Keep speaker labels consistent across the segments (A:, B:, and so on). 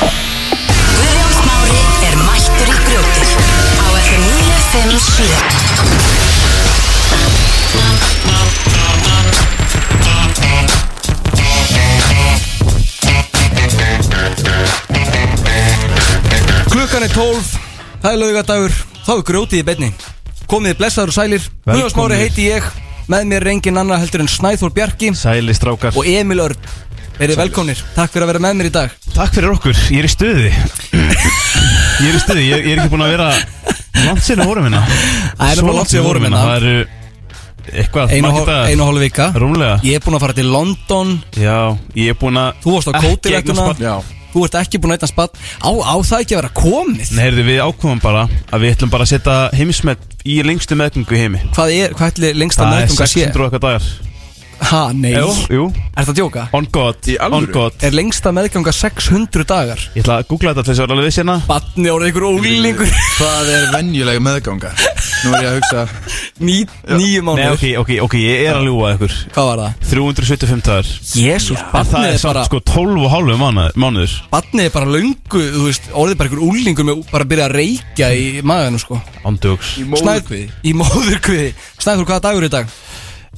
A: Guðjón Smári er mættur í grjótið á FM 957
B: Klukkan er 12, það er laugadagur, þá er grjótið í beinni Komið blessaður og sælir, Guðjón Smári
C: Velkomnir.
B: heiti ég Með mér er engin annar heldur en Snæþór Bjarki
C: Sæli strákar
B: og Emil Örn Verið velkomnir, takk fyrir að vera með mér í dag
C: Takk fyrir okkur, ég er í stuði Ég er í stuði, ég, ég er ekki búin að vera Langt sinna vorum hérna
B: Það er
C: Svo
B: bara langt síðan vorum hérna.
C: Það eru eitthvað,
B: Einu
C: margir
B: og hálf-
C: dagar.
B: einu og hálf vika
C: Rúmlega
B: Ég er búinn að fara til London
C: Já, ég er búin að
B: Þú varst á
C: ekki
B: kóti
C: eignast barn.
B: vektuna Þú ert ekki búinn að eitthvað spatt á, á það ekki að vera komið
C: Nei, heyrðu, við ákvæmum bara að við ætlum bara að setja heimismet í lengstu meðgöngu í heimi
B: Hvað er, hvað ætli lengsta
C: Það er
B: meðgönga sé?
C: 600 og eitthvað dagar
B: Ha, nei
C: Jú,
B: Er
C: jú,
B: það að djóka?
C: on god,
D: Í
C: on
D: alvöru?
C: god
B: Er lengsta meðganga 600 dagar?
C: Ég ætla að googla þetta til þess að vera alveg viss hérna
B: Batni orðið ykkur ólingur
D: Hvað er venjuleg meðganga? Nú er ég að hugsa
B: Ný, Nýju
C: Nei,
B: mánuður
C: ok, ok, ok, ég er að ljúga ykkur
B: Hvað var það?
C: 375 dagar
B: Jésús,
C: En það
B: barnið
C: er
B: er
C: samt
B: bara
C: sko 12 og hálfu mánuður
B: Barnið er bara löngu, þú veist, orðið bara ykkur úlingur með bara að byrja að reykja í maðinu sko
C: Andjóks
D: Í móðurkviði
B: Snæð- Í móðurkviði Snæður, hvaða dagur er í dag?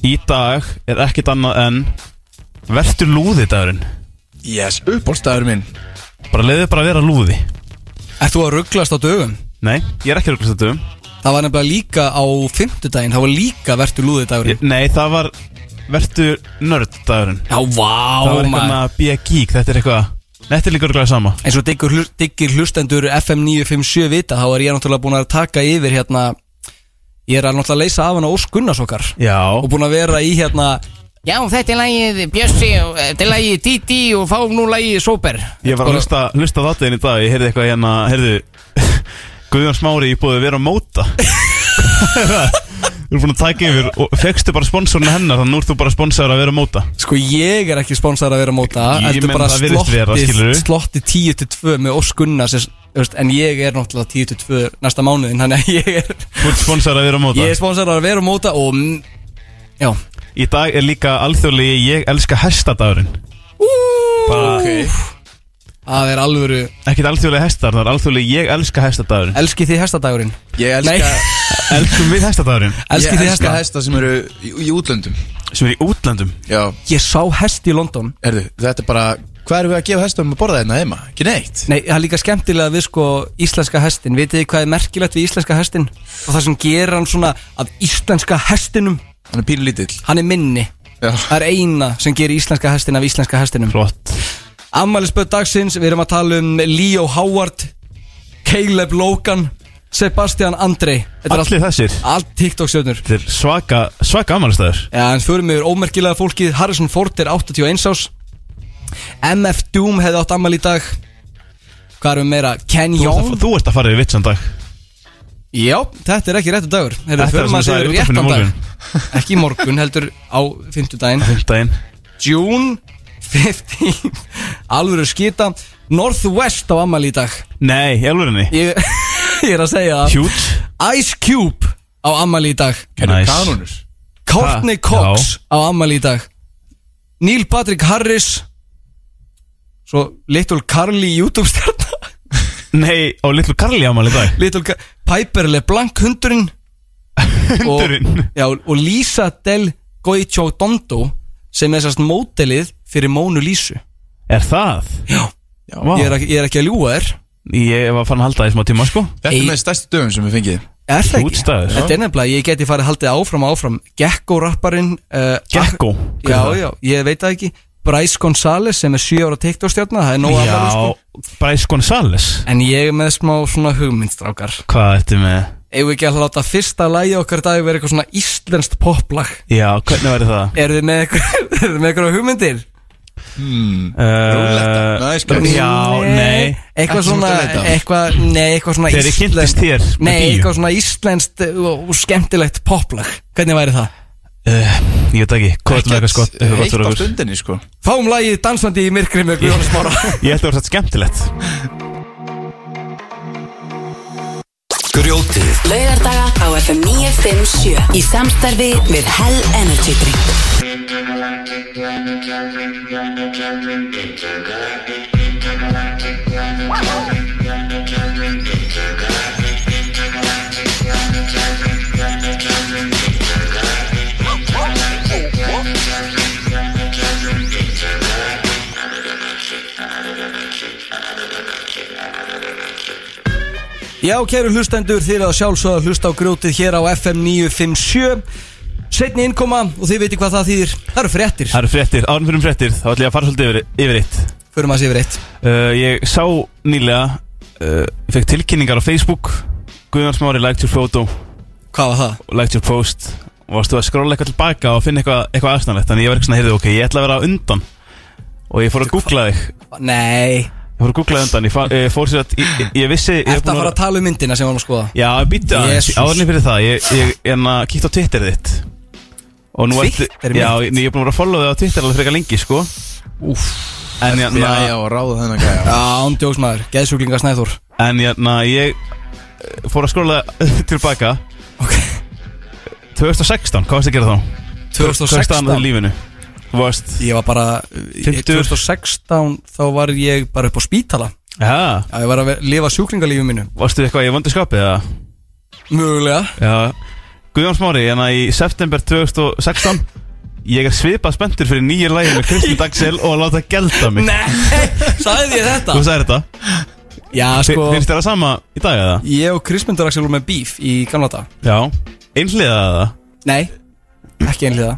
C: Í dag er ekkit annað en Vertu lúði dagurinn
D: Yes, uppbólstaður minn
C: Bara leiði bara að vera lúði
B: Ert þú að rugglast á dögum?
C: Nei, ég er ekki rúklast þetta um
B: Það var nefnilega líka á fimmtudaginn Það var líka vertu lúðið dagurinn
C: Ég- Nei, það var Vertu nörd dagurinn
B: Já,
C: Það var
B: vá,
C: eitthvað
B: maður
C: að bíja gík Þetta er eitthvað Nei, Þetta er líka rúklast sama
B: eins og diggir, hlu- diggir hlustendur FM 957 vita þá er ég náttúrulega búin að taka yfir hérna ég er að náttúrulega leysa af hana Ósk Gunnars okkar
C: Já
B: og búin að vera í hérna
E: Já, þetta er lagið Bjössi og eh, þetta er lagið Didi og fáum nú lagið Sober
C: Ég var að hlusta, hlusta á þáttiðin í dag Ég heyrði eitthvað hérna Heyrðu Guðjón Smári Ég búið að vera að móta Hvað er það? Þú er búin að taka yfir Og fegstu bara sponsorinn hennar Þannig nú ert þú bara sponsorar að vera að móta
B: sko ég er ekki sponsor að vera að móta
C: Ég
B: heldur
C: meina,
B: bara
C: það virðist vera, skilurðu.
B: slotti slotti 10 til 2 með Ósk Gunnars er- þú veist, en ég er náttúrulega 10 til 2 næsta mánuðin þannig að ég er
C: Þú ert sponsorar að vera að móta
B: ég er sponsor að vera að móta og mm, já
C: Í dag er líka alþjóðlegi Ég elska hestadagurinn Bara okay.
B: að er alvöru
C: Ekkert alþjóðlegi hestar Það er alþjóðlegi Ég elska hestadagurinn
B: elski þið hestadagurinn
D: Ég elska,
B: Nei.
C: Elskum við hestadagurinn
D: ég
B: elski þið
D: elska
B: hesta
D: hesta sem eru í, í útlöndum
C: Sem er í útlandum
D: Já,
B: ég sá hest í London
D: herðu, þetta er bara Hvað erum við að gefa hestum að borða hérna heima? Ekki neitt
B: Nei, það er líka skemmtilega við sko íslenska hestin Vitið þið hvað er merkilegt við íslenska hestin? Og það sem gerir hann svona af íslenska hestinum
D: Hann er pínlítill
B: Hann er minni
D: Já.
B: Það er eina sem gerir íslenska hestin af íslenska hestinum
C: Flott
B: Ammælisböð dagsins, við erum að tala um Leo Howard Caleb Logan Sebastian Andrei Þetta er allt,
C: Allir þessir
B: allt TikTok stjórnur
C: Þetta er svaka Svaka amalstæður
B: Já, en förum yfir ómerkilega fólkið Harrison Ford er 81 ás MF Doom hefði átt ammæli í dag Hvað erum við meira? Ken
C: Þú ert
B: Young
C: að- þú ert að fara í vitsan dag
B: Já, þetta er ekki réttu dagur Heyrðu,
C: Þetta er
B: förum
C: það
B: aðeins
C: sem sagði
B: yfir
C: í útvarpinu
B: réttan dag.
C: morgun.
B: Ekki í morgun, heldur á 50 daginn
C: Daginn
B: June 15 Alvöru skita Northwest á ammali í dag
C: Nei, í alvörinni
B: Ég, ég er að segja það
C: Hjút
B: Ice Cube á ammali í dag
D: Herðu,
C: Nice.
D: kanónur
B: Courtney
C: Ha,
B: Cox á ammali í dag Neil Patrick Harris Svo Little Carly YouTube stjarnar
C: Nei, á litlu Karli ámali í dag
B: Little Car Piper LeBlanc hundurinn
C: Hundurinn
B: Já, og Lisa Del Goicho Dondo sem er sérst mótelið fyrir Mónu Lísu
C: Er það?
B: Já,
D: Já,
C: Vá.
B: ég er, ekki- ég er ekki að ljúga þér
C: Ég var fann að halda því smá tíma sko
D: Þetta
B: Ey.
D: er með stærstu dögum sem við fengið
B: Er það ekki?
C: Útstæður.
B: Þetta er nefnilega, ég geti farið haldið áfram og áfram Gekko rapparinn uh,
C: Gekko? Hver
B: Já,
C: er það?
B: já, ég veit það ekki Bryce Gonzales sem er 7 ára TikTok-stjarnar Það er nóg alveg
C: Já,
B: sko
C: Bryce Gonzales
B: En ég er með smá svona hugmyndstrákar
C: Hvað ertu með?
B: Eigum við ekki að láta fyrsta lagi okkar í dag vera eitthvað svona íslenskt poplag
C: Já, hvernig væri það?
B: Eru þið með eitthvað, eruð þið með eitthvað hugmyndir?
C: Hmm.
D: Rúlletta.
C: Uh,
D: Nei, skemmtilegt.
C: já, nei
B: Eitthvað
D: Ekki sem
B: svona,
D: þú ert að leita.
B: eitthvað, nei, eitthvað svona
C: Þegar ég kynntist þér með
B: Nei,
C: bíó.
B: eitthvað svona íslenskt uh, og og skemmtilegt poplag Hvernig væri það?
C: uh, Ég veit ekki, hvað er með eitthvað skott eitthvað gott
D: heitt
C: fyrir
D: á
C: okkur?
D: stundinni sko
B: Fáum lagið Dansandi í myrkri með Guðjóns Mára
C: Ég held að það var satt skemmtilegt
F: Grjótið
A: Laugardaga á FM 957 í samstarfi við Hell Energy Drink.
B: Já, kæru hlustendur, þið eru að sjálfsögða að hlusta á grjótið hér á FM 957 Setni innkoma og þið veitir hvað það þýðir Það eru fréttir,
C: Það eru fréttir, árnum fyrir um fréttir Þá ætlum ég að fara svolítið yfir, yfir eitt
B: förum að sé yfir eitt
C: uh, Ég sá nýlega uh, Ég fekk tilkynningar á Facebook Guðjón Smári liked your photo
B: Hvað var það?
C: og liked your post og varstu að skróla eitthvað tilbaka og finna eitthvað, eitthvað aðstæðanlegt þannig ég var eitthvað svona, heyrðu, ok, ég ætla að vera á undan og ég fór að googla þig ég
B: Nei,
C: fór að googla undan, ég, fa- ég fór sér að ég, ég vissi ég er
B: eftir
C: búinn
B: að fara að tala um myndina sem við varum að skoða
C: Já, býttu aðeins,
B: Jesús.
C: áðurinn fyrir það Ég, ég en að kíkta á Twitter þitt Og nú ertu-
B: Twitter mitt?
C: Já, ég ég er búin að vera að followa þig á Twitter alveg frekar lengi, sko
B: Úff,
C: En
D: Já, já,
C: hérna,
D: og ráða þennan gæja
B: án djóksmaður, geðsúklinga snæður
C: en hérna Ég eh, fór að skrolla tilbaka
B: Ok,
C: 2016, hvað varst að gera þá? Hvað varstu annað í
B: 2016
C: lífinu? Þú varst,
B: Ég var bara, ég,
C: 50.
B: 2016 þá var ég bara upp á spítala
C: já,
B: Já, ég var að ve- lifa sjúklingalífum mínu
C: varstu eitthvað í vondu skapið eða?
B: Mögulega
C: Já, Guðjón Smári, hérna í september 2016 Ég er svipað spenntur fyrir nýju lægin með Kristinn Dagsel og að láta gelda mig
B: Nei, sagði ég þetta?
C: Þú sagði þetta,
B: Já,
C: Fi-
B: sko,
C: finnst þér það sama í dag eða?
B: ég og Krismundur Axel vorum með bíf í gamla dag
C: Já, einhliða það
B: Nei, ekki einhliða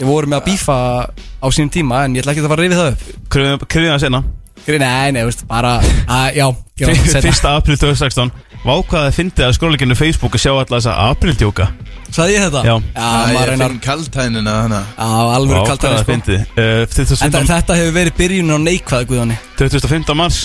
B: Við vorum með að bífa á sínum tíma En ég ætla ekki að fara að rifið það upp
C: Kröfum kröfum það senna
B: Gri- Nei, nei, veist, bara að, Já, já, setna.
C: 1. april 2016 Vákvaði að fyndi að skróleikinu Facebook að sjá alla þessa aprildjóka
B: Sagði ég þetta?
C: Já.
B: já
D: Já,
B: maður
D: ég
B: reynar
D: finn kaldhænina hana
B: Á alvöru
C: Vákvaði
B: kaltar
C: að
B: sko.
C: fyndi uh,
B: En þa-
C: 2015
B: þetta hefur verið byrjun á neikvæða guðjóni
C: 2015 mars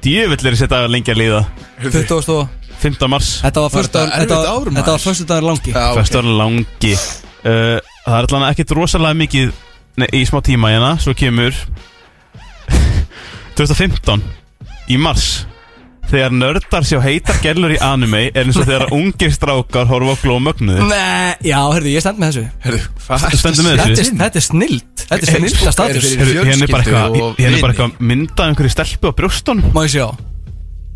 C: Djövill er þessi dagar lengi að líða
B: 20 og
C: 15 mars
B: Þetta var fyrstu
D: þetta erfitt ár, maður?
B: Þetta var fyrstu dagur langi
D: Já, ok.
C: Festur langi uh, Það er allan ekkert rosalega mikið nei, Í smá tíma hérna Svo kemur 2015 Í mars Þegar nördar sjá heitar gellur í anime Er eins og þegar ungir strákar horfa á glómögnuði
B: Nei, já, herðu, ég stend með þessu
D: Heyrðu, hvað
C: Þú stendur með
B: Þetta
C: þessu
B: er, þetta er snild Þetta er snild að
D: er
B: status
D: fyrir-
C: Heyrðu, Hérna er bara eitthvað
D: fjölskyldu og
C: Hérna er bara
D: vini.
C: eitthvað Myndað einhverju stelpu á brjóstunum
B: Má ég sjá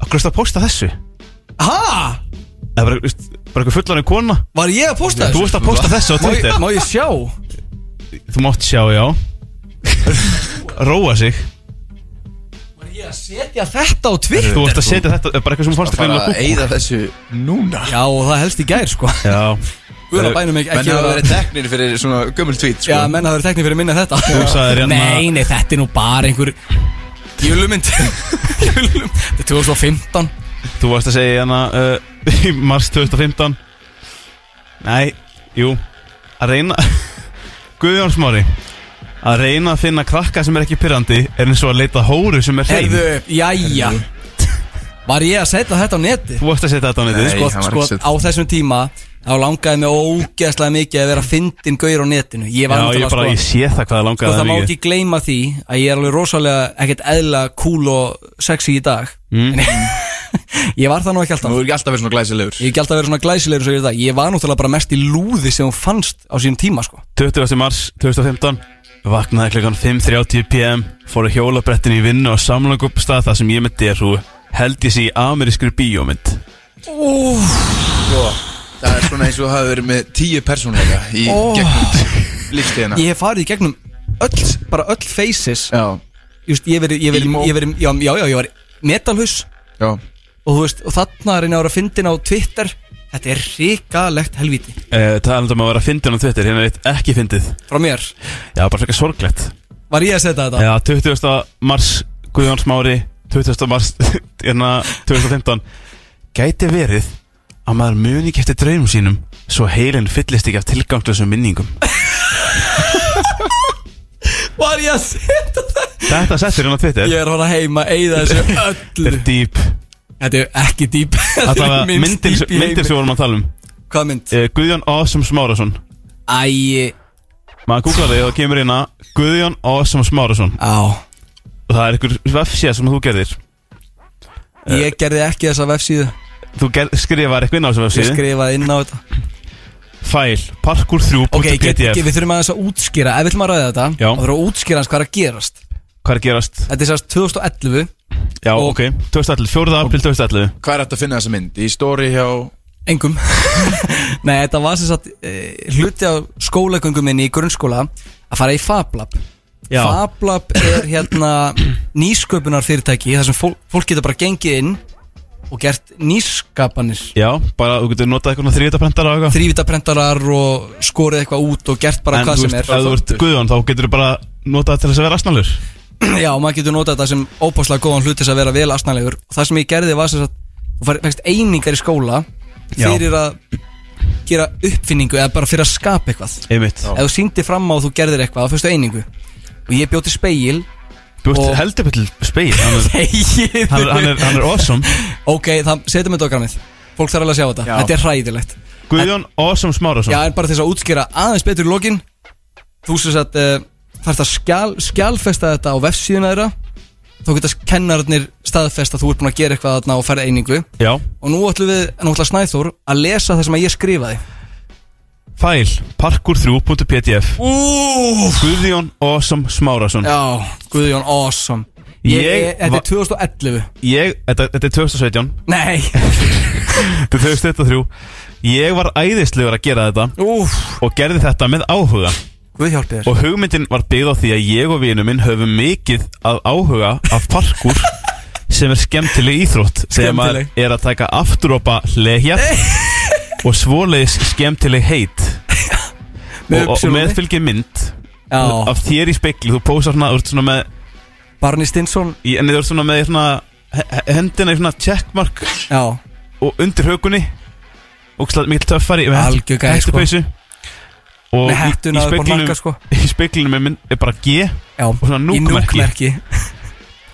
C: Akkur erstu að posta þessu
B: Ha?
C: Það er bara, veist, bara eitthvað fullanum kona
B: Var ég að posta
C: Þú
B: þessu?
C: ert að posta þessu á
B: Má ég,
C: Twitter
B: má ég sjá?
C: Þú mátt sjá, já Róa sig
B: Var ég að setja þetta á Twitter?
C: Þú ert að setja þetta Bara eitthvað sem þú fannst að
D: Bara
C: greinilega
D: að eyða þessu núna
B: Já, og það helst í gær, sko
C: Já,
B: Guð að bænum ekki,
D: Menn
B: ekki
D: hafa
B: vera
D: verið teknir fyrir svona gömul tvít
B: Já,
D: sko.
B: menn hafa verið teknir fyrir minna en þetta
C: Þú sagðir hérna-
B: Nei, nei, þetta er nú bara einhver Jölumynd Jölum Þetta er 2015
C: þú varst að segja hérna uh, í mars 2015 Nei, jú að reyna Guðjón Smári að reyna að finna krakka sem er ekki pyrrandi er eins og að leita hóru sem er hrein
B: Herðu, jæja Var ég að setja þetta á neti?
C: Þú varst að setja þetta á netið
D: Nei.
B: Sko,
D: hann var
B: sko
D: ekki að
B: á
D: setja-
B: þessum tíma Þá langaði mig ógeðslega mikið að vera fyndin gaur á netinu Ég var
C: Já, ég bara,
B: náttúrulega
C: ég
B: sko
C: sé það hvað það
B: Sko,
C: langaði
B: það
C: það
B: má
C: mikið
B: ekki gleyma því að ég er alveg rosalega ekkert eðla cool og sexy í dag
C: Mm.
B: En- Ég var það nú ekki alltaf
D: Nú er ekki alltaf verið svona glæsilegur
B: Ég er ekki alltaf að vera svona glæsilegur svo ég er það Ég var náttúrulega bara mest í lúði sem hún fannst á sínum tíma sko
C: 20. mars 2015 vaknaði klukkan 5.30 pm fór að hjólabrettin í vinnu og samlangu upp stað það sem ég með derhú held ég sé í amerískri bíómynd
D: sko. Það er svona eins og hafa verið með tíu persónleika í
B: Ó.
D: gegnum lífstíðina
B: Ég hef farið í gegnum öll, bara öll faces
D: Já,
B: Just, Ég verið, ég verið,
D: Emo.
B: ég verið, já, já, já, ég var metalhus
D: já
B: Og þú veist, og þarna er einu ára fyndin á Twitter Þetta er hrikalegt helvíti
C: uh, það er um að vera fyndin á Twitter hérna er eitt ekki fyndið
B: Frá mér,
C: Já, bara frekar sorglegt
B: var ég að setja þetta?
C: Já, 20. mars Guðjón Smári 20. mars hérna 2015 Gæti verið að maður muni ekki eftir draunum sínum svo heilin fyllist ekki af tilgangslusum minningum
B: Var ég að setja þetta?
C: Þetta settur hérna á Twitter
B: Ég er að fara heima, eigða þessu
C: Þetta
B: öllu
C: er dýp
B: Þetta er ekki dýp
C: Þetta var
B: minnst
C: myndir,
B: dýp í heimi.
C: myndir sem vorum að tala um
B: Hvað mynd?
C: Eh, Guðjón Awesome Smárasson
B: Æ,
C: Maður googlar þig og það kemur hérna Guðjón Awesome Smárasson
B: á
C: og það er einhver vefsíða sem þú gerðir
B: Ég gerði ekki þessa vefsíðu
C: Þú ger- skrifar eitthvað inn á þessu
B: Ég
C: vefsíðu
B: skrifaði inn á þetta
C: Fæl, parkour3.pdf
B: Ok, get, get, við þurfum aðeins að útskýra Ef við ætlum að ræða þetta
C: Já.
B: þá þurfum við að útskýra hans hvað er að gerast
C: Hvað er að gerast?
B: Þetta er sérst 2011
C: Já,
B: Og-
C: ok, 2011, 4. april 2011
D: Hvað er þetta að finna þessa mynd? Í stóri hjá
B: Engum Nei, þetta var sem sagt e, hluti á skólagöngum minni í grunnskóla að fara í Fablab
C: Já.
B: Fablab er hérna nýsköpunar fyrirtæki þar sem fólk, fólk getur bara gengið inn og gert nýskapanir
C: Já, bara þú getur notað eitthvað þrývitaprentara og eitthvað
B: þrývitaprentarar og skorið eitthvað út og gert bara
C: En
B: hvað
C: þú
B: sem
C: veist,
B: er
C: ef þú ert guðan þá getur þú bara notað til þess að vera asnalur
B: Já, og maður getur notað þetta sem óbáslega góðan hlut til þess að vera vel asnalegur og það sem ég gerði var sem sagt þú fær- fékkst einingar í skóla
C: Já.
B: fyrir að gera uppfinningu eða bara fyrir að skapa eitthvað
C: Einmitt,
B: ef þú sýndir fram á að þú gerðir eitthvað þá fyrstu einingu og ég bjóti speil
C: bjótt
B: Og-
C: heldur betur speil hann er, hann, er, hann, er, hann er awesome
B: Ok, það setjum þetta á græmið Fólk þarf alveg að sjá þetta,
D: Já.
B: þetta er hræðilegt
C: Guðjón Awesome Smárasson
B: Já, en bara til þess að útskýra aðeins betur í lokin Þú sem sagt uh, þarft að skjál, skjálfesta þetta á vefsíðuna þeirra Þá geta kennararnir staðfest að þú ert búin að gera eitthvað þarna og ferð einingu
C: Já.
B: Og nú ætlum við, nú ætla Snæþór að lesa það sem að ég skrifaði
C: Fæl, parkour3.pdf Guðjón Awesome Smárasson
B: Já, Guðjón, awesome Ég,
C: Ég
B: ég, þetta
C: va-
B: er 2011
C: Ég, þetta, þetta er 2017
B: Nei,
C: Þetta er 2023 Ég var æðislegur að gera þetta
B: úf,
C: og gerði þetta með áhuga
B: Guð hjálpi þér
C: og hugmyndin var byggð á því að ég og vinur minn höfum mikið að áhuga af parkour sem er skemmtileg íþrótt þegar maður
B: Skemmtileg.
C: er að taka afturopa hlehjar og svoleiðis skemmtileg heit
B: Með
C: og, og
B: upsiloni.
C: með fylgir mynd
B: Já,
C: af þér í spekli, þú pósar svona, þú ert svona með
B: Barney Stinson
C: í- en þú ert svona með svona he- he- hendina í svona checkmark
B: Já,
C: og undir hökunni og mikil töffari með
B: Algjör gæi, sko.
C: hættupeysu og
B: með
C: í, í,
B: hettuna upp á
C: speklinum,
B: hnakka sko
C: í speklinu með mynd er bara G
B: Já,
C: og svona
B: í
C: núkmerki.
B: núkmerki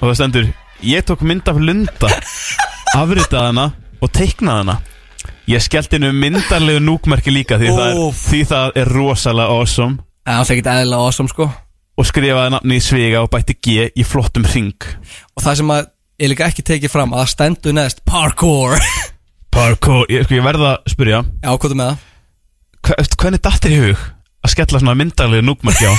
C: og það stendur Ég tók mynd af lunda Afritaði hana og teiknaði hana Ég skellti hennu myndarlegu núkmerki líka því, það er,
B: Úff.
C: því það er rosalega awesome
B: Það er alltaf ekkert eðlilega awesome sko
C: Og skrifaði nafni í svega og bætti G í flottum hring
B: Og það sem að ég líka ekki tekið fram að það stendur neðst parkour Já,
C: Parkour Ég, sko, ég verða að spyrja
B: hvað er með það?
C: hva- eftir Hvernig dattir í hug að skella svona myndarlegu núkmerki á?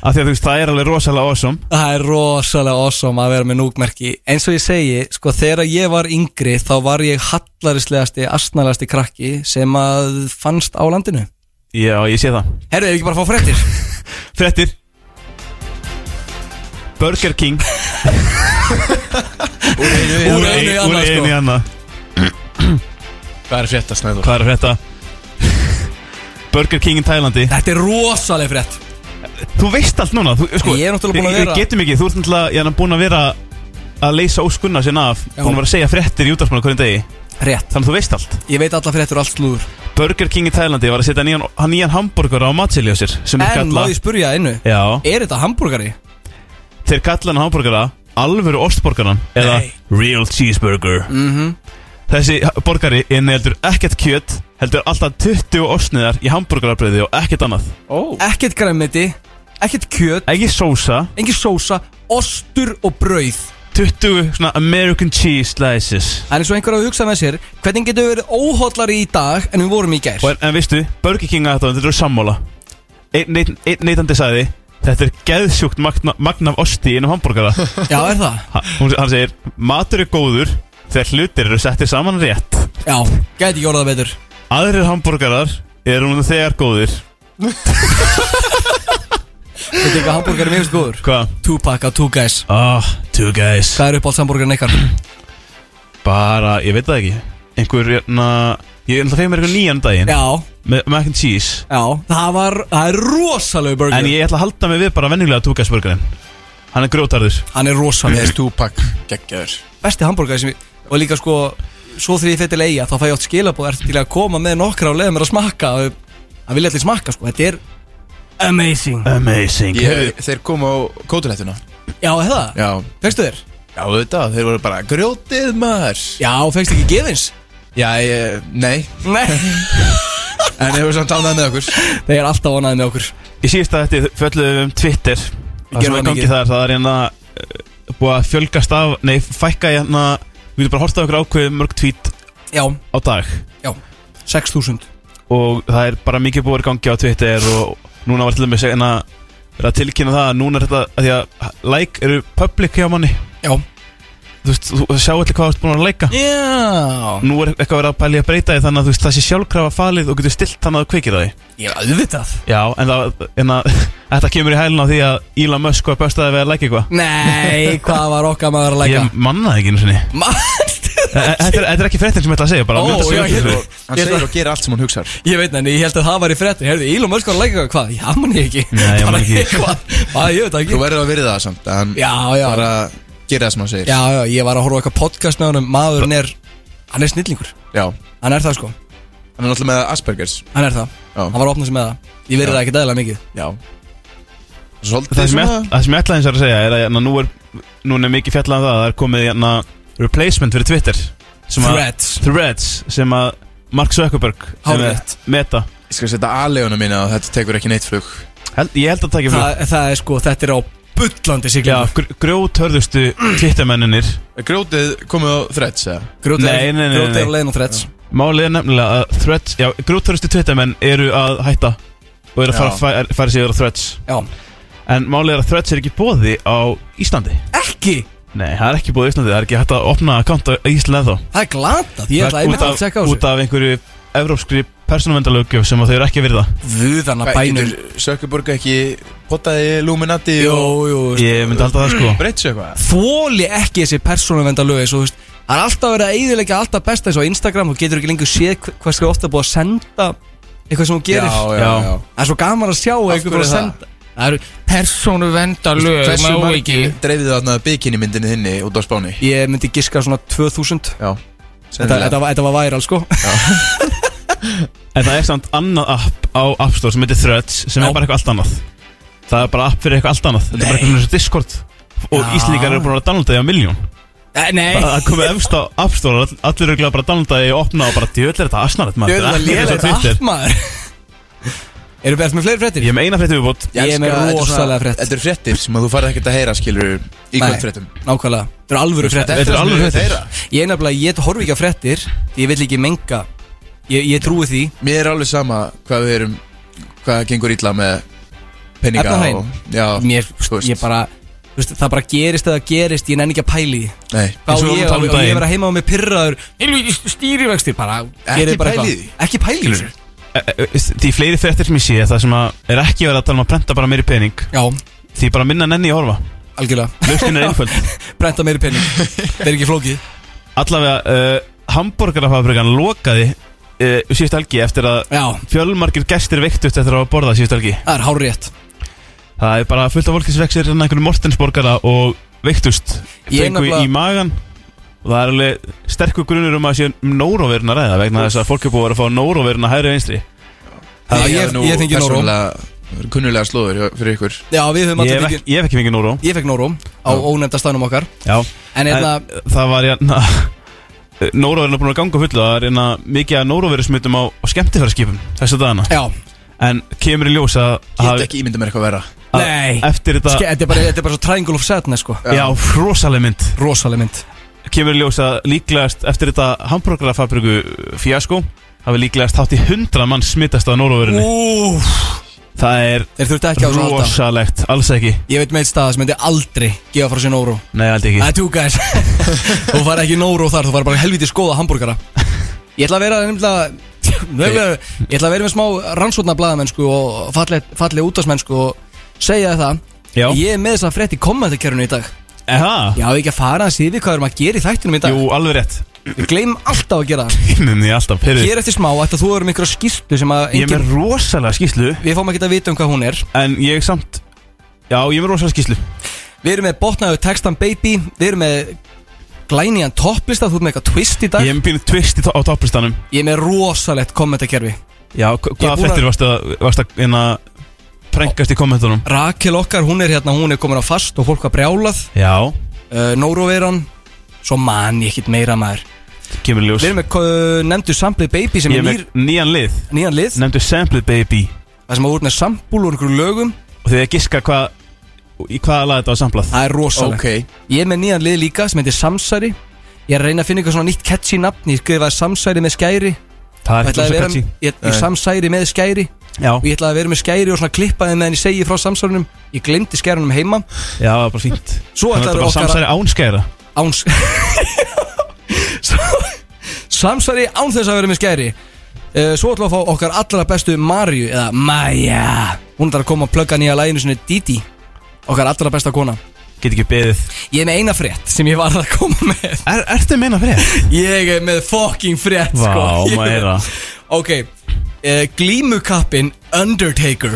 C: Af því að þú veist það er alveg rosalega awesome
B: Það er rosalega awesome að vera með núkmerki Eins og ég segi, sko þegar ég var yngri þá var ég hallarislegasti, asnalegasti krakki sem að fannst á landinu
C: Já ég sé það
B: Herru, ef við ekki bara að fá fréttir
C: Frettir Burger King
D: Úr einu í
B: Úr
D: annað.
B: einu í
C: Úr einu
B: annað,
C: í
B: sko.
C: annað
D: Hvað er frétta snæður?
C: Hvað er að frétta? Burger King í Tælandi
B: Þetta er rosalega frétt
C: Þú veist allt núna þú, sko,
B: Ég er náttúrulega búin að
C: við-
B: vera-
C: Við getum ekki, þú ert náttúrulega ég er búin að vera að leysa óskunna sinna af
B: Já.
C: Búin að vera að segja fréttir í útdagsmála hverjum degi
B: Rétt,
C: Þannig að þú veist allt
B: ég veit alla fréttur og allt slúður
C: Burger King í Tælandi var að setja nýjan, hann nýjan hambúrgar á matseli á sér Sem er
B: En má
C: kalla
B: ég spurja innu,
C: Já,
B: er þetta hambúrgari?
C: þeir kalla hann hambúrgara Alvöru ostborgaran Eða
B: Nei.
C: Real Cheeseburger mm -hmm. Þessi borgari inniheldur ekkert kjöt Heldur alltaf 20 ostniðar í hambúrgarabröði og ekkert annað
B: Ekkert græmiti, ekkert kjöt
C: Ekki sósa
B: engin sósa, ostur og brauð
C: 20 svona American cheese slices
B: Það er eins og einhver að hugsa með sér Hvernig getur við verið óhóllari í dag en við vorum í gær
C: og en, en veistu, Burger King að þetta þetta eru sammála einn neyt, ein neytandi sagði þetta er geðsjúkt magna, magna af osti innum hambúrgara ha,
B: Já, er það?
C: hún, hann segir, matur er góður þegar hlutir eru settir saman rétt
B: Já, gæti ekki orðað betur
C: aðrir hambúrgarar eru nú þegar góðir
B: Þetta er eitthvað hambúrgar mjög góður
C: hvað?
B: Tupac á Two Guys
C: ah, two guys
B: Hvað er uppáhalds hambúrgarinn ykkar?
C: bara, ég veit það ekki einhver, na, ég er alltaf fegin mér eitthvað nýjan um daginn
B: Já,
C: með mac and cheese
B: já Það var, það er rosalegu burger
C: en ég ætla að halda mig við bara venjulega two guys burgerinn hann er grótarður
B: Hann er
D: Mér
B: rosalegu
D: er stúpak geggjaður
B: Besti hambúrgar sem ég Og líka sko Svo þegar ég fyrir eiga Þá fæ ég átt skilabóð Ertu til að koma með nokkra og leiða mér að smakka Og Það vilja allir smakka sko Þetta er Amazing
C: amazing
D: Ég- Þeir komu á kótulættuna
B: Já, er það?
D: Já
B: Fengstu þér?
D: Já, auðvitað, þeir voru bara grjótið maður
B: Já, fengstu ekki gefins?
D: Já, ég, nei
B: Nei
D: En ég voru samt ánægð með okkur
B: Þeir er alltaf ánæðið með okkur
C: Í síðasta þetta fölluðum við um Twitter Það
B: gerum
C: sem er eh,
B: það
C: gangið
B: mikið.
C: þar, það er hérna uh, búið að fjölgast af, nei, fækka í hérna Við getum bara hortað okkur ákveðið mörg tweet
B: Já,
C: á dag
B: já 6.000
C: Og það er bara mikið búið í gangi á Twitter Og núna var til dæmis en að vera að tilkynna það að núna er þetta að Því að like eru public hjá manni
B: Já
C: Þú veist, þú þú sjá allir hvað þú ert búin að likea
B: Já
C: Nú er eitthvað verið að pæli að breyta því þannig að þú veist það sé sjálfkrafa falið og getur stilt þannig að þú kveikir það því
B: Ég auðvitað
C: Já, en, það, en að, þetta kemur í hælun á því að Elon Musk var bestaði við að lækja eitthvað
B: Nei, hvað var okkar maður að læka
C: Ég manna það ekki einu sinni E-
B: Manstu
C: e- Þetta er, þetta er ekki fréttin sem ég ætla að segja bara
B: Ó,
C: mynda sig
B: já,
C: öll þessu.
B: ég-
D: Hann segir og gerir allt sem hann hugsar
B: Ég veit en ég held að það var í frettin Herðu, Ílum Ösk var að læka hvað? Já, man ég ekki
C: Nei, ég man
B: Bara
C: ekki.
B: eitthvað. Hvað, ég veit það
D: Þú
B: ekki
D: verður að virða það samt að hann
B: Já, já
D: bara gerir það sem hann segir
B: Já, já, ég var að horfa á eitthvað podcast með honum Maðurinn er, hann er snillingur
D: Já.
B: Hann er það sko,
D: Hann er náttúrulega með Aspergers
B: hann er það
D: Já.
B: Hann var að opna sig með það Ég verið
D: Já.
B: það ekki dæðilega mikið
D: Já Svolítið
C: Það sem ég-
D: svona
C: það sem ég ætla eins að segja er að hérna, nú er, nú er mikið fjallað um það að það er komið hérna, replacement fyrir Twitter sem að,
B: Threads
C: Threads sem að Mark Zuckerberg sem er
B: Hárrétt.
C: Meta
D: Ég skal setja aðleguna mína og þetta tekur ekki neitt flug
C: Held, Ég held að það ekki fyrir
B: það, það er sko, þetta er á bullandi
C: Já,
B: siglingu
C: gr grjótörðustu Twittermenninir
D: Er Grjótið komið á þræts eða?
B: Grjótið
C: Nei, nei, nei,
B: Grjótið
C: nei.
B: er á leiðin á Threads
C: Málið er nefnilega að threads, já, grúttarustu Twittermenn eru að hætta og eru að fara,
D: Já.
C: fara, fara sér á threads
B: Já
C: En málið er að threads er ekki bóði á Íslandi
B: Ekki
C: Nei, það er ekki bóði á Íslandi, það er ekki hægt að opna akkant á Íslandi þá
B: Það er glatað Ég ætla einmitt að tjekka á
C: út
B: þessu
C: af einhverju evrópskri persónuvendalögjöf sem að þau eru ekki að virða
B: Vöðana
D: Hvað,
B: bænum
D: getur Sökkuburg ekki potaði Illuminati
B: Jú,
D: og
B: jú
C: Ég myndi alltaf það sko
D: breytt sér eitthvað?
B: Þóli ekki þessi persónuvenda lög Svo þú veist Það er alltaf verið að eyðilegja alltaf besta Svo á Instagram Þú getur ekki lengur séð hv- Hvað skal ofta búið að senda Eitthvað sem hún gerir
D: Já, já,
C: Já.
D: já
B: Það er svo gaman að sjá Eitthvað búið að
D: hverju það?
B: senda
E: Það eru persónu vendalög
D: Hversu
E: má
D: margi
E: ekki
D: dreifið þið þarna bikini myndinni þinni út á spáni?
B: Ég myndi giska svona 2000
D: Já
B: Þetta, þetta, var- þetta var væral sko
C: En það er samt annað app á App Store sem heitir Threads sem
B: Já.
C: er bara eitthvað allt annað Það er bara app fyrir eitthvað allt annað Þetta er bara eitthvað svona eins og Discord Og
B: Já.
C: Íslendingar eru búin að downloada því á miljón
B: Eh, Nei
C: Bara að koma efst á App Store og all- allir eru bara að downloada því og opna og bara djöðlega þetta asnarætt maður
B: Djöfull að
C: ekki eins og
B: lélega
C: Twitter.
B: allt maður Eru bært með fleiri fréttir?
C: Ég hef með eina frétt viðbót
B: Ég er með rosalega frétt.
D: Þetta er fréttir sem að þú farið ekkert að heyra skilur
B: Nei.
D: í hvern fréttum
B: Nákvæmlega Þetta eru alvöru fréttir
C: Þetta er alveg
D: Þetta er
C: fréttir
D: þeirra.
B: Ég er nefnilega, ég horfi ekki á fréttir Ég vill ekki menga Ég, ég trúi því
D: Mér er alveg sama hvað við erum hvað gengur illa með peninga
B: Efnahaginn?
D: og, Já,
B: Mér,
D: þú veist.
B: ég bara þú veist, Það bara gerist eða gerist, ég nenni ekki að pæli því
D: Nei,
B: Hvað
C: Eins
B: á
C: og við vorum
B: ég,
C: að tala
B: og
C: um
B: ég
C: daginn.
B: vera heima á mig pyrraður Stýrivextir bara
D: Ekki
B: gerið bara
D: pæla í
B: eitthvað. Ekki pæli því
C: E- e- e- Því fleiri fréttir sem ég sé það sem að er ekki verið að tala um að prenta bara meiri pening
B: Já,
C: Því bara minna nenni í að horfa
B: algjörlega
C: Lausnin er einföld
B: Brenta meiri pening Það er ekki flókið
C: Allavega, uh, hambúrgarafabrikan lokaði uh, síðust helgi eftir að
B: Já,
C: fjölmargir gestir veiktust eftir að hafa borðað síðust helgi
B: það er hárétt
C: Það er bara fullt af fólki sem vekk sér hérna einhverju mortensborgara og veiktust
B: Ég
C: fengu
B: nefnilega-
C: í magan og það er alveg sterkur grunur um að sé um nóróveruna ræða vegna þess að fólk er búið að vera að fá nóróveruna hægri og vinstri
B: Já, ég-
D: hef nú
B: ég fengi Nóró.
D: persónulega kunnulega slóður hjá- fyrir ykkur
B: Já, við höfum
C: Ég
B: alltaf
C: hef
B: ekki
C: ekki- ég hef ekki fengið nóró
B: Ég fekk Nóró á
D: Já.
B: ónefnda staðnum okkar
C: Já,
B: En hérna,
C: en, það var hérna Nóróveruna búin að ganga fullu það er hérna mikið að nóróverusmyndum á, á skemmtifæraskipum þessu dagana
B: já,
C: en kemur í ljós að,
D: Get
C: að,
D: ekki ímynda mér eitthvað vera
C: að
B: nei
C: eftir
B: Ske-
C: þetta
B: Þetta er bara- þetta er bara svo triangle of sadness sko
C: Já, rosaleg mynd
B: Rosaleg mynd
C: kemur í ljós að líklegast eftir þetta hambúrgarafabriku fjasko hafi líklegast hátt í 100 mann smittast á Nóroverinni
B: Úf,
C: Það er
B: Þeir þurftu ekki á svona alltaf
C: rosalegt, alls ekki
B: Ég veit með eitt stað sem myndi aldrei gefa frá sér Nóró
C: Nei, alls ekki
B: Það er two guys Þú farið ekki í Nóró þar, þú farið bara í helviti skoða hambúrgara Ég ætla að vera nefnilega nefnilega- Ég ætla að vera með smá rannsóna blaðamennsku og falleg, falleg útastmennsku og segja þér það
C: Já,
B: Ég er með þess að frétt í kommentarkerfinu í dag
C: er það?
B: Já, ekki að fara að síði hvað við erum að gera í þættinum í dag
C: Jú, alveg rétt
B: Við gleymum alltaf að gera það
C: Kynum því alltaf, heyrðu
B: Hér eftir smá ætti að þú erum ykkur skýrtu sem að
C: Ég er
B: engin,
C: með rosalega skýslu
B: Við fáum ekki að vita um hvað hún er
C: En ég samt Já, ég er með rosalega skýslu
B: Við erum með botnaðu textan baby Við erum með glænian topplista Þú erum með eitthvað twist í dag
C: Ég er með býnum twist í to- á topplistanum
B: Ég er með rosalegt kommentarkerfi
C: Já, hva-
B: Ég er
C: hvaða
B: búin að-
C: frettir varstu að, varstu að hérna, prengast í kommentunum?
B: Rakel okkar, hún er hérna, hún er komin á fast og fólk var brjálað
C: Já,
B: uh, Nóroveiran, svo man ég ekkit meira maður
C: kemur í ljós
B: Við erum með uh, nefndu samplið baby sem
C: Ég
B: er
C: er
B: nýr,
C: með nýjan lið
B: nýjan lið
C: Nefndu Sample Baby
B: Það sem að voru með sambúl og einhverju lögum
C: og þið að giska hvað í hvaða lag þetta var samplað
B: Það er rosalegt
D: Ok,
B: Ég er með nýjan lið líka sem heitir Samsari Ég er að reyna að finna eitthvað svona nýtt catchy nafn Ég skrifaði samsæri með skæri
C: Það er
B: Ég ætlaði
C: ekki
B: að
C: svo
B: vera-
C: kætsi
B: Ég, ég samsæri með skæri
C: Já,
B: Og ég ætlaði að vera með skæri og svona klippaði meðan ég segi frá samsærinum Ég glemdi skærunum heima
C: já, það er bara fínt
B: Svo
C: Þannig að þetta
B: ætlaði
C: bara
B: okkar
C: samsæri ánskæra
B: áns Svo- Samsæri án þess að vera með skæri Eh, Svo ætlaði að fá okkar allra bestu Marju eða Maja Hún ætlar að koma að plugga nýja læginu sinni Didi Okkar allra besta kona
C: Get ekki beðið
B: Ég er með eina frétt sem ég var að koma með
C: er, Ertu að meina fyrir?
B: Ég er með fucking frétt
C: Vá,
B: sko. Ég-
C: maður er það
B: Ok, uh, glímukappin Undertaker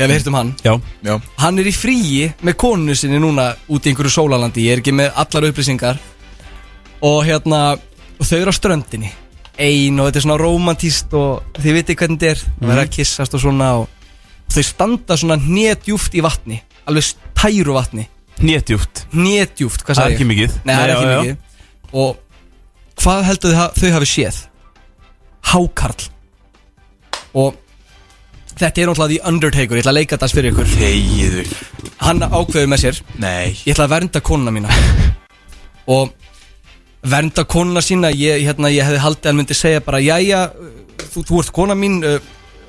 B: Já, við hirtum um hann
C: Já,
D: Já,
B: Hann er í fríi með konunu sinni núna út í einhverju sólalandi Ég er ekki með allar upplýsingar Og hérna, og þau eru á ströndinni Ein og þetta er svona romantíst og þið viti hvernig þetta er Það verður
C: Mhm.
B: að kissast og svona og Þau standa svona hnétjúft í vatni Alveg tæru vatni
C: nétjúft
B: Hnétjúft,
C: Það
B: hvað
C: er
B: sagði ég?
C: ekki mikið
B: Nei, það er
C: já,
B: ekki
C: já.
B: mikið Og hvað heldur þau, þau hafi séð? Hákarl Og þetta er náttúrulega The Undertaker Ég ætla að leika þetta fyrir ykkur
D: þegiðu
B: Hann ákveður með sér
D: Nei
B: Ég ætla að vernda konuna mína Og vernda konuna sína Ég, hérna, ég hefði haldið að hann myndi segja bara Jæja, þú, þú ert kona mín uh,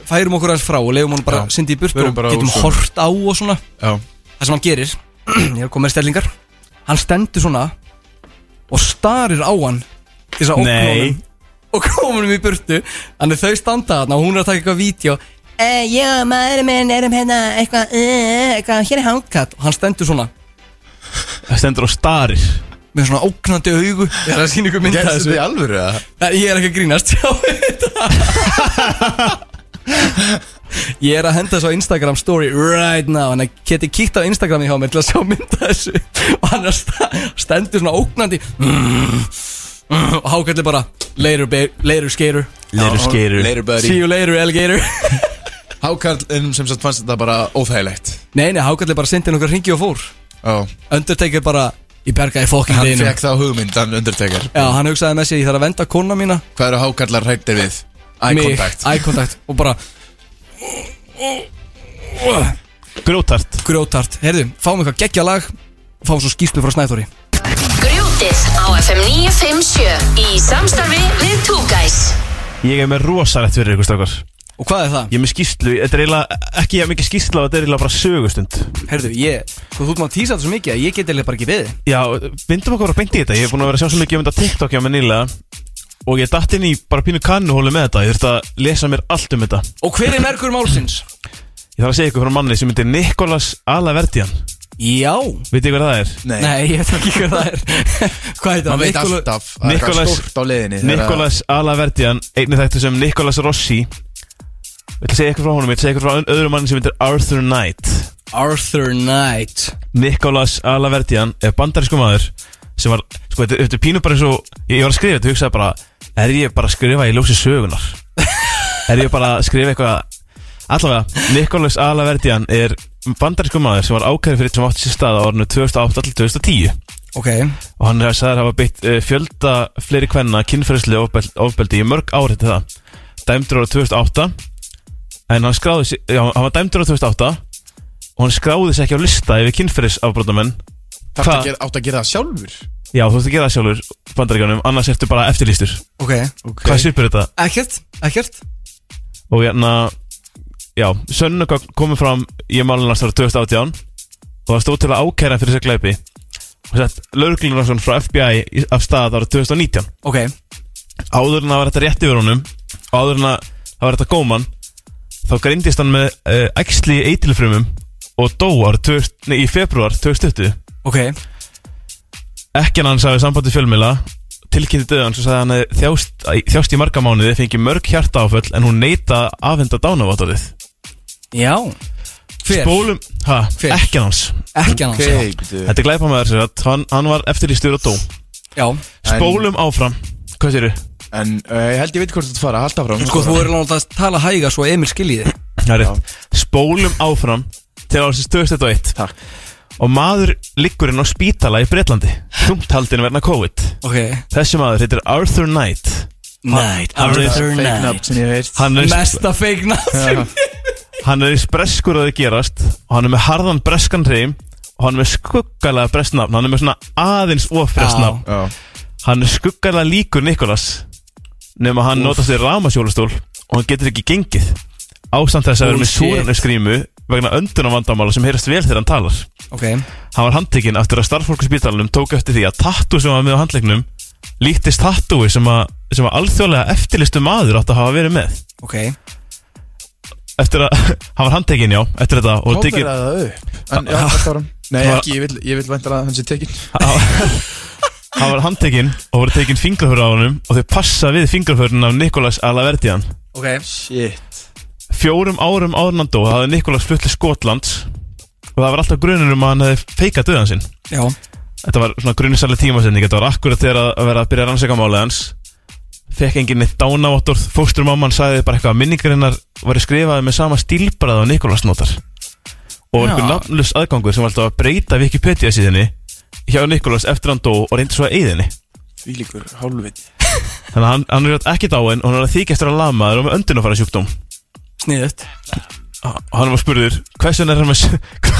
B: Færum okkur aðeins frá og leifum hann bara
D: Já,
B: Sindi í burtu
D: förum
B: og
D: bara úr
B: getum
D: svona.
B: hort á og svona
D: Já,
B: það sem hann gerir ég er að koma með stellingar hann stendur svona og starir á hann til þess að ógna
C: Nei.
B: honum og koma honum í burtu þannig þau standa þarna og hún er að taka eitthvað vídeo eh, já, maður minn erum hérna eitthvað, eh, eitthvað hér er hangkatt og hann stendur svona
C: Það stendur á starir
B: með svona ógnandi augu ég er að sína ykkur mynda
D: gerðist
B: þessu
D: þetta í alvöru eða?
B: Nei, ég er ekki að grínast sjá þetta. ég er að henda þessu á Instagram story right now hann geti kíkt á Instagrami hjá mér til að sjá mynda þessu og hann er að sta- stendur svona ógnandi og hákallir bara later, ba- later skater
C: Leiru skeru
D: Leiru
B: see
D: buddy
B: you later alligator
D: Hákarlinn sem sagt fannst þetta bara óþægilegt
B: nei nei hákallir bara sendið nokkar ringi og fór
D: Já,
B: Undertaker bara ég bergaði fokkin
D: hann
B: deginum
D: fekk þá hugmynd, hann undertekar
B: já hann hugsaði með sér ég þarf að venda kona mína
D: Hvað eru hákarlar hrættir við? Eye
B: mig,
D: contact
B: eye contact og bara
C: Grótart
B: grjótart Herðu, fáum eitthvað geggja lag Fáum svo skýrslu frá Snæþóri
A: Grjótið á FM 957 í samstarfi við Two Guys
C: Ég er með rosalegt fyrir ykkur stakar
B: Og hvað er það?
C: Ég er með skýslu Þetta er eiginlega ekki jafn mikið skýsla Þetta er eiginlega bara sögustund
B: Herðu, ég Þú ert maður að tísa þetta svo mikið að ég get eða bara ekki beðið
C: Já, vindum okkur að beint í þetta Ég er búin að vera að sjá svo mikið um þetta á TikTok hjá mér nýlega Og ég datt inn í bara pínu kannuhólu með þetta Ég þurfti að lesa mér allt um þetta
B: Og hver er merkur málsins?
C: Ég þarf að segja ykkur frá manni sem heitir Nikolas Alaverdian
B: Já
C: Vitið ykkur það er?
D: Nei,
B: Nei, ég veit ekki hvað það er Hvað heitir það?
D: maður veit
B: Nikola-
D: alltaf að það er eitthvað
C: Nikolas-
D: stórt á leiðinni þegar að-
C: Nikolas Alaverdian Einnig þetta sem Nikolas Rossi Ég ætla að segja ykkur frá honum Ég ætla að segja ykkur frá ön- öðrum manni sem heitir Arthur Knight
B: Arthur Knight
C: Nikolas Alaverdian er bandarísku maður sem var, sko, þetta þetta er pínu bara eins og ég var að skrifa þetta og hugsaði bara er ég bara að skrifa í ljósi sögunar er ég bara að skrifa eitthvað allavega, Nikolas Alaverdian er bandarísku maður sem var ákæri fyrir sem átti sér stað á orðinu 2008 til 2010
B: Ok
C: og hann er sagður hafa beitt uh, fjölda fleiri kvenna kynferðislega ofbeldi, ofbeldi í mörg árið til það dæmdur ára 2008 en hann skráði sig- já, hann var dæmdur ára 2008 og hann skráði sig ekki á lista yfir kynferðisafbrotamenn
D: Þarftu
C: Hva?
D: að gera- Áttu að gera það sjálfur
C: já þú ert að gera það sjálfur bandaríkanum annars ertu bara eftirlýstur
B: Ok
C: hvað svipur þetta
B: Ekkert Ekkert
C: og hérna já sönnu komið fram í málunars ára 2018 og það stóð til að ákæra hann fyrir þessu glæpi og sett lögreglunarson frá FBI í- af stað ára 2019
B: Ok
C: áður en það var þetta rétt yfir honum og áður en að það var þetta góman þá greindist hann með uh, æxli í eitilfrumum og dó ár, tvö- nei, í februar 2020
B: Ok
C: ekkjan hans hafði sambandi fjölmila tilkynnti döðan svo sagði hann að þjást, æ, þjást í marga mánuði fengi mörg hjarta áföll en hún neita að afhenda dánaváttarið
B: Já Hver?
C: Spólum, ha,
B: Hver?
C: ekkjan hans
B: Ekki annars okay.
D: byrju.
C: Þetta er glæpa með þess að hann, hann var eftirlýstur og dó
B: Já
C: Spólum áfram, hvað séru?
D: En uh, ég held ég veit hvort þetta fara, halda fram
B: Sko þú er náttúrulega að tala hæga svo Emil skiljiði
C: Það er rétt Spólum áfram til ársins 2001
D: Takk.
C: Og maður liggur inn á spítala í Breitlandi Þungtaldin verna COVID
B: Ok
C: Þessi maður heitir Arthur Knight
B: Night
C: Arthur
D: Fake nafn sem ég veist
C: Hann er,
B: Mesta fake nafn
C: hann er eins breskur að það gerast Og hann er með harðan breskan reym Og hann er með skuggalega brestnafn Hann er með svona aðeins
B: Já.
C: ofrestnafn
D: Já,
C: Hann er skuggarlega líkur Nikolas Nefn að hann notast við rámasjólastól Og hann getur ekki gengið Ásamt þess að vera með
B: Bullshit.
C: súrefnisgrímu Vegna öndunarvandamála sem heyrist vel þegar hann talar
B: Ok,
C: Hann var handtekinn eftir að starffólk í spítalunum Tók eftir því að tattu sem var með á handleiknum Líktist tattúi sem að, sem að Alþjóðlega eftirlistu maður átt að hafa verið með
B: ok
C: Eftir að hann var handtekinn já Eftir þetta og tekinn
D: Ábyrða það upp en, já, það var hann. Nei, ekki, ég vil, ég vil vænta að hann sé tekinn
C: Hann var handtekinn og voru tekinn fingraförð á honum Og þau passa við fingraförðin af Nikolas Alaverdian
B: Ok,
D: Shit
C: Fjórum árum árnandó hafði Nikolas flutt til Skotlands og það var alltaf grunur um að hann hefði feikað döðan sinn.
B: já,
C: Þetta var svona grunisæli tímasending, þetta var akkurat þegar að vera að byrja að rannsaka málið hans. Fekk enginn neitt dánavottorð, fósturmamman sagði bara eitthvað að minningarinnar var skrifaði með sama stílbræð á Nikolas notar. Og einhver nafnlust aðgangur sem var alltaf að breyta Wikipedia síðinni hjá Nikolas eftir hann dó og reyndi svo að eyðinni.
D: Því líkur, hálfviti
C: Þannig að hann, hann er ekki dáin og hann er að þykja eftir að lama og með öndunafæra
B: sniðut
C: Og hann var spurður, hvers vegna er hann með,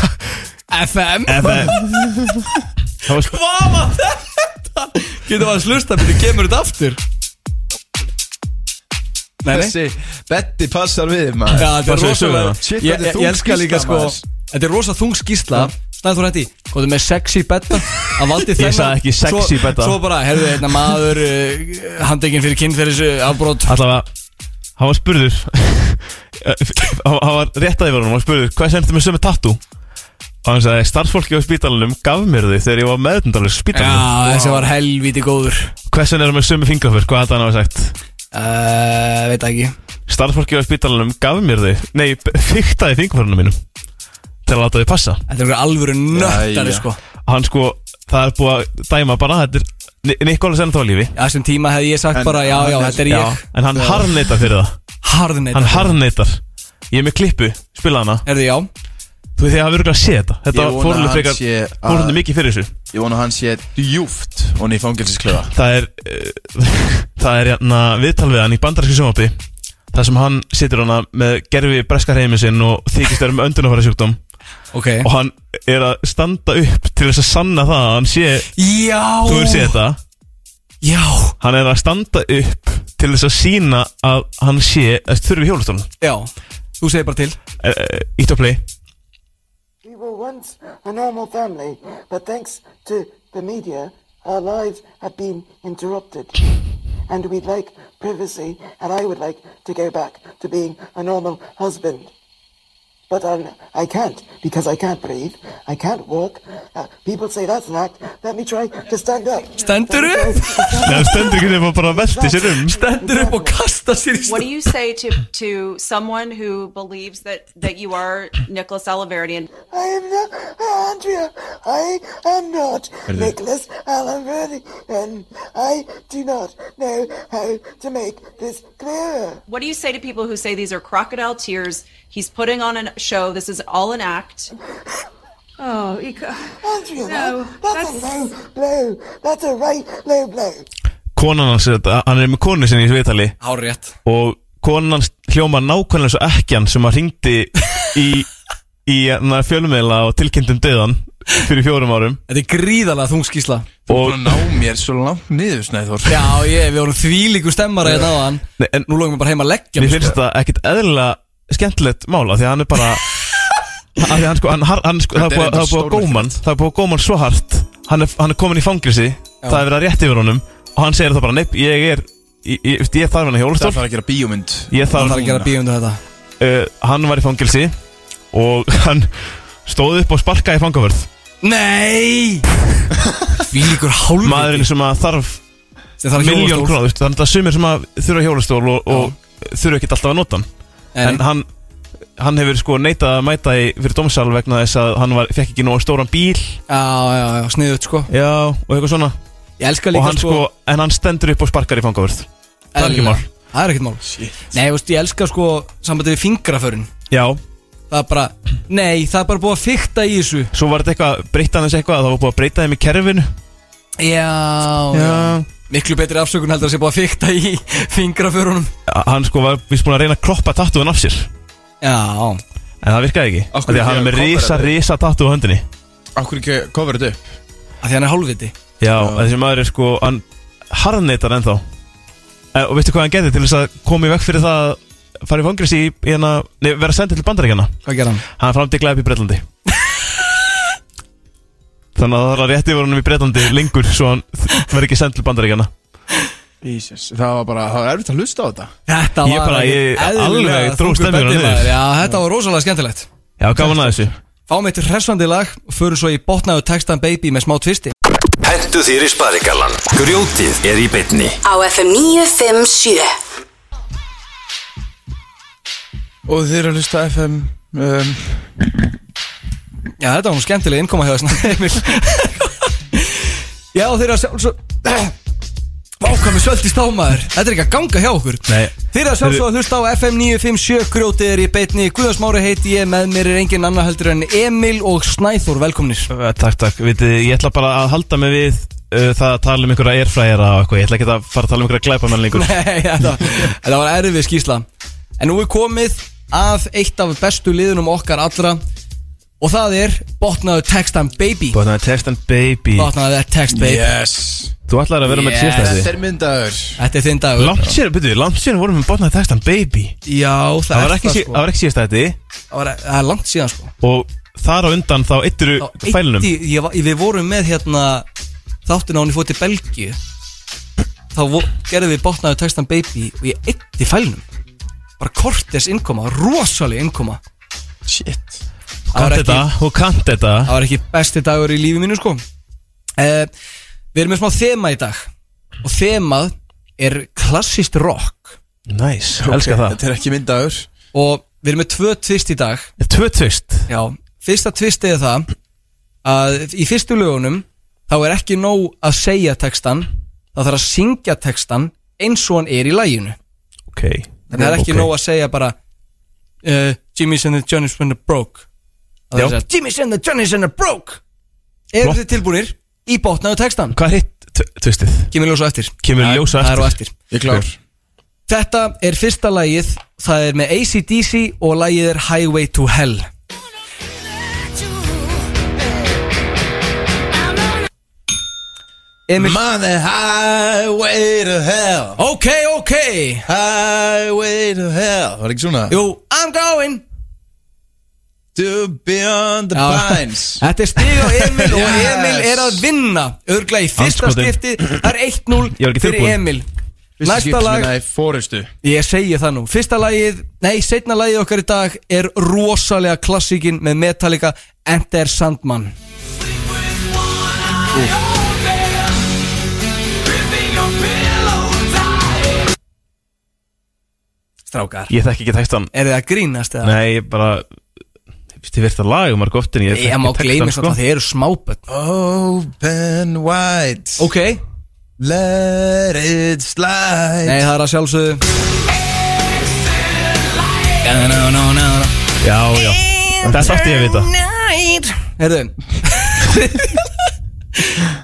B: FM
C: Það var sp-
B: Hvað var þetta? Getur maður að slusta, betur kemur þetta aftur Nei, nei
D: Þessi, Betty passar við maður
B: Já, þetta
C: Hvað
B: er
C: segir
B: rosalega
C: söguna?
D: Shit,
B: Ég
D: þetta er
B: ég-
D: þung
B: ég elska
D: skýrsla,
B: líka sko
D: maður.
B: Þetta er rosa þung skýrsla Snæður þú hætti Góðu með sexy betta Að valdi þennan
C: sagði ekki sexy
B: svo-
C: bedda.
B: Svo bara, herðu, hérna maður uh, Handekinn fyrir kynferðis uh, afbrot
C: allavega Hann var spurður Hann hann var rétt að yfir honum Hann var spurður, hvað sendið mér sömu tattoo? Og hann sagði, starfsfólki á spítalunum gaf mér þau Þegar ég var meðundarlega
B: Já,
C: spítalunum
B: þessi var helvíti góður
C: Hvers vegna erum við sömu fingraför? Hvað þetta hann hafa sagt?
B: uh, Veit það ekki
C: Starfsfólki á spítalunum gaf mér þau Nei, fyrtaði fingraförunum mínum Til að láta þau passa
B: Þetta er einhver alvöru nöttari
D: Jæja.
B: sko
C: Hann sko, það er búið að dæma bara Þetta er Nikolas enn þá á lífi
B: Já, þessum tíma hefði ég sagt
D: En-
B: bara Já, já,
D: en-
B: þetta er
C: Já,
B: ég
C: en hann harneitar fyrir það
B: Harðneitt
C: Hann harneitar Ég er með klippu, spila hana
B: Herðu, já
C: Þú veit, þið hafa örgulega séð þetta Þetta
D: Ég vona
C: fórhundu
D: að
C: frekar,
D: hann sé að-
C: fórhundu mikið fyrir þessu
D: Ég vona að hann sé djúft og hann í fangilsisklefa
C: Það er, uh, það er hérna viðtal við hann í bandaræsku sjónvarpi Það sem hann situr hana með gerfi breska hreiminn sinn og þykist þeirra með öndunafæra sjúkdóm
B: Ok
C: Og hann er að standa upp til þess að sanna það að hann sé, þú hefur séð
B: Já
C: þetta
B: Já
C: Hann er að standa upp til þess að sína að hann sé, þess þurfi eh, hjólastólun
B: Já Þú segir bara til
C: Ítt á play
F: We were once a normal family, but thanks to the media, our lives have been interrupted. And we'd like privacy, and I would like to go back to being a normal husband. But I, I can't because I can't breathe. I can't walk. Uh, people say that's an act. Let me try to stand up.
B: Stand
F: Let me
B: up?
F: try to stand
C: Nei, hann stendur ekki nefn bara velti sér um
B: Stendur upp og kasta sér í
G: What
B: stund
G: do you say to, to someone who believes that, that you are Nicholas Oliverdian?
F: I am not Andrea. I am not Nicholas Alaverdi, and I do not know how to make this clearer.
G: What do you say to people who say these are crocodile tears? He's putting on a show. This is all an act.
H: Oh, you ca-
F: Andrea,
H: No,
F: that's, a
H: that's-
F: low blow. That's a right low blow.
C: Konan hans, er þetta- hann er með konu sinni í þessu viðtali
B: Hárétt
C: og konan hans hljóma nákvæmlega svo ekkjan sem að ringdi í, í hérna, fjölmiðla og tilkynntum döðan fyrir fjórum árum
B: Þetta er gríðalega þung skísla
D: Þú
C: og
D: er búin að ná mér svo langt niður Snæður
B: Já, ég, við vorum þvílíku stemmara hérna á hann
C: Nei, en
B: Nú lókum við bara heima að leggja
C: mér
B: mig,
C: finnst
B: sko.
C: þetta ekkit eðlilega skemmtilegt mála því að hann er bara að því að hann sko, hann, hann sko það er
D: Þetta er
C: búið- það er búið
D: reyndar
C: að góman það er búið að góman svo hart hann er, hann er komin í fangrisi það er verið að rétt yfir honum og hann segir það bara nepp, ég er ég, ég, ég, ég þarf hann að
D: Það
C: hjólastól
D: þarf að gera bíómynd
C: ég
B: Hann
C: þarf
B: þarf að gera bíundu þetta
C: uh, hann var í fangelsi og hann stóð upp og sparkaði í fangavörð
B: Nei Þvílíkur hálfur
C: maðurinn sem að þarf
B: sem þarf
C: miljón krónur þú veist, þannig að sumir sem að þurfa hjólastól og, og þurfa ekkert alltaf að nota hann en hann, hann hefur sko neitað að mæta í, fyrir domsal vegna þess að hann var, fekk ekki nóg stóran bíl
B: Já, já, já, sniðut sko
C: já, og eitthvað svona
B: Ég elska
C: og
B: líka
C: hann sko, en hann stendur upp og sparkar í fangavörð það er ekki mál.
B: Það er ekkert mál Nei, þú veist, ég elska sko sambandi við fingraförin
C: já,
B: Það er bara, nei, það er bara búið að fykta í þessu
C: svo var þetta eitthvað breyta hann þess eitthvað að það var búið að breyta þeim í kerfinu
B: Já, Miklu betri afsökun heldur að sé búið að fykta í fingraförunum
C: hann sko var vist búin að reyna að kroppa tattúin af sér
B: Já,
C: en það virkaði ekki,
D: Af
C: af
D: hverju
C: því að hann
D: ekki
C: er með
D: að cover
C: risa,
D: þetta?
C: risa tattú á höndinni
D: Akkur ekki cover þetta upp
B: af því hann er hálfviti
C: Já, þessi maður er sko hann, harðneitar ennþá uh, Og veistu hvað hann gerði til þess að koma í vekk fyrir það að fara í fangris í, í hana, nei, vera sendið til bandaríkjana
B: Hvað gerði hann?
C: Hann framdi glæp í Breitlandi Þannig að það var rétti voru hann í Breitlandi lengur Svo hann verði ekki sendið til bandaríkjana
D: Jesus, það var bara, það var erfitt að hlusta á þetta
B: Þetta
C: Ég bara, ég
B: eðlilega
C: alveg dró
B: þungur
C: stemninguna
B: beddi,
C: niður.
B: maður. Já, þetta var rosalega skemmtilegt
C: Já, gaman að þessu
B: Fáum eitt hressandi lag og förum svo í botnaðu textan Baby með smá tvisti
I: Hentu þér í sparigallan Grjótið er í bytni
A: Á FM 957
D: Og þeir eru að hlusta á FM um,
B: Já, þetta var nú skemmtileg innkoma hjá þessna Emil Já, þeir eru að sjálfsög Vákvæmi svöldist á maður Þetta er ekki að ganga hjá okkur
C: Nei.
B: Þeir eru að sjálfsög að hlusta á FM 957 Grjótið er í beitni Guðasmári heiti ég Með mér er engin annar heldur en Emil og Snæþór Velkomnir
C: Eh, Takk, takk, vitið, þið, ég ætla bara að halda mig við uh, það að tala um einhverja airfryera og eitthvað, ég ætla ekki að fara að tala um einhverja glæpamenn lengur
B: Nei, þetta, þetta var erfið skýsla En nú er komið að eitt af bestu liðunum okkar allra Og það er Botnaðu textan Baby
C: Botnaði text and baby
B: Botnaðu text baby
D: Yes
C: Þú ætlaði að vera með
B: Yes.
C: yeah.
D: Þetta
C: sérstæði
D: er myndaður
B: Þetta er þinn dagur
C: Langt sér, byrju, langt sér vorum við botnaði text and baby
B: Já, það,
C: Það var
B: er
C: ekki,
B: það
C: sí-
B: sko
C: það var ekki sérstæði
B: Það var- það er langt síðan sko
C: og þar á undan þá eittiru
B: Þá
C: fælunum
B: eyddi- ég, var- Við vorum með hérna Þáttin á henni fótt til Belgíu Þá vo, gerðum við botnaðu textan baby Og ég eitt í fælnum Bara kortes innkoma, rosalega innkoma
D: Shit
B: Það
C: Kant
B: var ekki- Ah,
C: þetta og kant þetta
B: Það var ekki besti dagur í lífi mínu sko eh, Við erum með smá þema í dag Og þemað er klassist rock
C: Næs, elska það
D: Þetta er ekki myndaður
B: Og við erum með tvö tvist í dag
C: Tvö tvist
B: Já, fyrsta tvist er það Að í fyrstu lögunum Þá er ekki nóg að segja textan Það þarf að syngja textan Eins og hann er í læginu
C: Ok
B: Það er ekki
C: Ok.
B: nóg að segja bara uh, Jimmy's and the Johnny's when they're broke Það
C: Já.
B: er að segja Jimmy's and the Johnny's when they're broke Eru
C: Flott.
B: þið tilbúinir í botnaðu textan?
C: Hvað er hitt tv- tvistið?
B: Kemur ljósa eftir
C: Kemur í ljós á
B: Það er á
C: eftir
B: eftir
D: Ég klár
B: Þetta er fyrsta lagið Það er með ACDC og lagið er Highway to Hell Emil
D: Man the highway to hell
B: Ok, ok
D: Highway to hell Var ekki svona?
B: Jú, I'm going
D: To beyond the pines
B: Þetta er stig á Emil og
D: Yes.
B: Emil er að vinna Örglega í fyrsta
C: Andskotinn.
B: skipti Það er 1-0
C: Ég var ekki
B: fyrir
C: tilbúinn.
B: Emil
D: Fyrsta
B: Næsta
D: skipti
B: lag-
D: minna í fórustu
B: Ég segi það nú Fyrsta lagið, nei, setna lagið okkar í dag er rosalega klassíkin með Metallica Enter Sandman Strákar
C: Ég þekki ekki textan
B: Er þið að grínast eða?
C: Nei, ég bara Þið verðt að laga marg oftin Ég
B: Ég má gleymi svona sko. þið eru smáböld
D: Open wide
B: Ok,
D: Let it slide
B: nei það er að sjálfsögðu Já, ná, ná, ná, ná
C: Já, já Þetta átti ég að vita
B: Herðu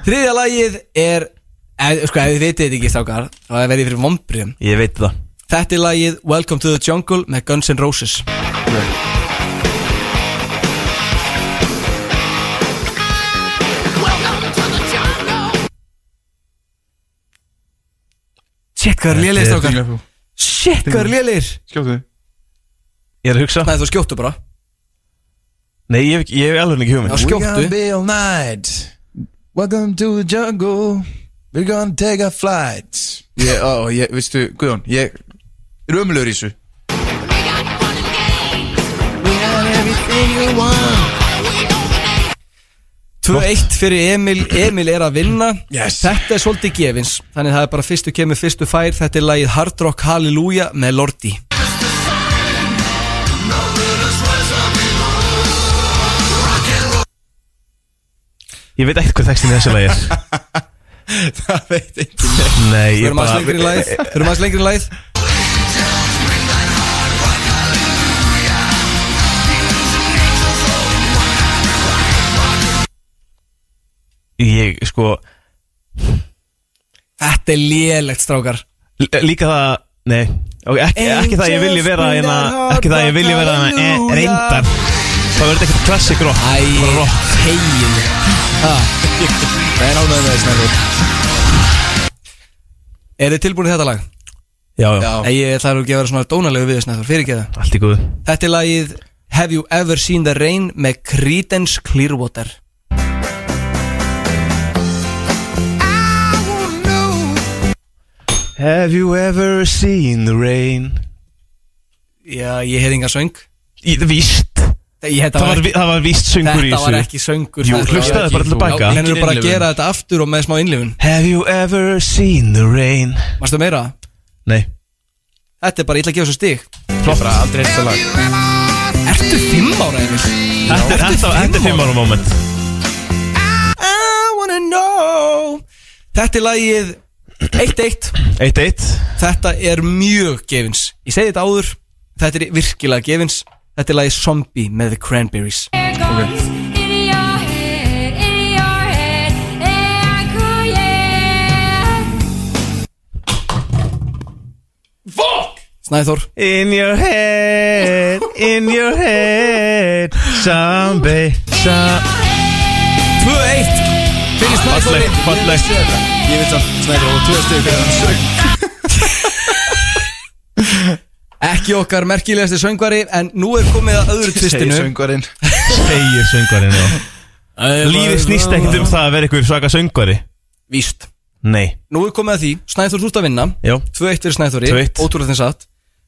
B: Þriðja lagið er eð, Sko, ef þið vitið þetta ekki strákar þá verði ég fyrir vombriðum
C: Ég veit það
B: Þetta er lagið Welcome to the Jungle með Guns N' Roses Shit, hvað er lélir strákar Shit, hvað er lélir
D: Skjóttu
C: Ég er að hugsa
B: Nei, þú skjóttu bara
C: Nei, ég hef, ekki- ég hef alveg ekki hugmynd
B: Já,
D: We're gonna
B: skjóttu
D: be all night Welcome to the jungle We're gonna take a flight Ég, ó, ég, veistu, Guðjón Ég er ömulur í þessu We got everything you want
B: 2-1 fyrir Emil Emil er að vinna
D: Yes.
B: Þetta er svolítið gefins Þannig það er bara fyrstu kemur fyrstu fær Þetta er lagið Hard Rock Hallelujah með Lordi
C: Ég veit ekkert hvað textin í þessu lagi er
D: Það veit ekki neitt
C: Nei,
B: Við
C: ég
B: erum aðeins lengri í lagið Við erum aðeins lengri í lagið
C: Ég, sko
B: Þetta er lélegt strákar
C: l- Líka það Nei Ok, ekki, ekki það ég vilji vera hérna Ekki það ég vilji vera hérna e, Reyndar Það verður ekkert klassik rock
B: Æ,
C: Bara rock
B: hegin
D: Það er ánægðið með þessu
B: Er þið tilbúin í þetta lag?
C: Já, já,
D: Já.
B: Nei, ég ætla nú ekki að vera svona dónalegu við þess fyrir ekki það
C: allt í góðu
B: Þetta er lagið Have You Ever Seen The Rain með Creedence Clearwater
C: Have you ever seen the rain?
B: Já, ég hef enga söng
C: Í, víst
B: Ég, þetta
C: Það var, vi- það var víst söngur í
B: þetta
C: þessu
B: var ekki söngur
C: Jú,
B: þetta var
C: hlustaðu
B: ekki-
C: bara til baka.
B: Já, Þannig eru bara að
D: Engin
B: gera þetta aftur og með smá innlifun
C: Have you ever seen the rain?
B: Varstu meira?
C: Nei
B: Þetta er bara, ég ætla að gefa þessu stig
D: Flott Bara aldrei eftir lag
B: Ertu fimm ára eða?
C: Þetta er- þetta þetta er fimm ára moment
B: I wanna know Þetta er lagið 1-1
C: Eitt eitt
B: Þetta er mjög gefins Ég segi þetta áður Þetta er virkilega gefins Þetta er lagið Zombie með The Cranberries Snæþór
C: In your head, in your head Zombie Zombie
B: 2-1 Fyrir Snæþóri
C: Fallegt, fallegt
D: Ég veit að Snæður og tvö stið fyrir hann söng
B: Ekki okkar merkilegasti söngvari En nú er komið að öðru
D: Segir
B: tvistinu
D: söngvarinn
C: Segir söngvarinn já Lífið snýst ekkert um það að vera eitthvað svaka söngvari
B: Víst
C: Nei
B: Nú er komið að því Snæþór þú ert að vinna
C: Já
B: 2-1 fyrir Snæþóri
C: 2-1.
B: Ótrúlega þins að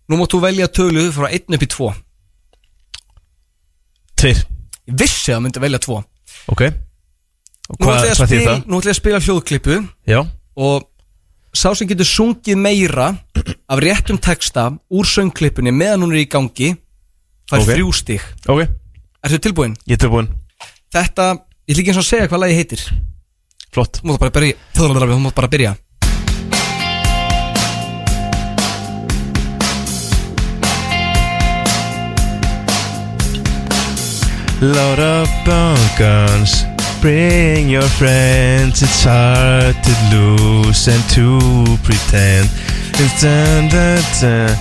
B: Nú mátt þú velja tölu frá 1 upp í 2
C: Tveir
B: Ég vissi að það myndi velja 2
C: Ok Og
B: Nú
C: hvað
B: ætla ég að
C: hva þýr
B: spila-
C: það?
B: nú ætla ég að spila hljóðklippu
C: Já
B: og sá sem getur sungið meira af réttum texta úr söngklippunni meðan hún er í gangi fær
C: Ok.
B: þrjú stig
C: Ok
B: Ertu tilbúin?
C: Ég er tilbúin
B: Þetta, ég líka eins og að segja hvað lagi heitir Þú
C: Flott
B: mátt bara byrja Þú mátt bara byrja
C: Load up on guns Bring your friends It's hard to lose And to pretend It's dun dun dun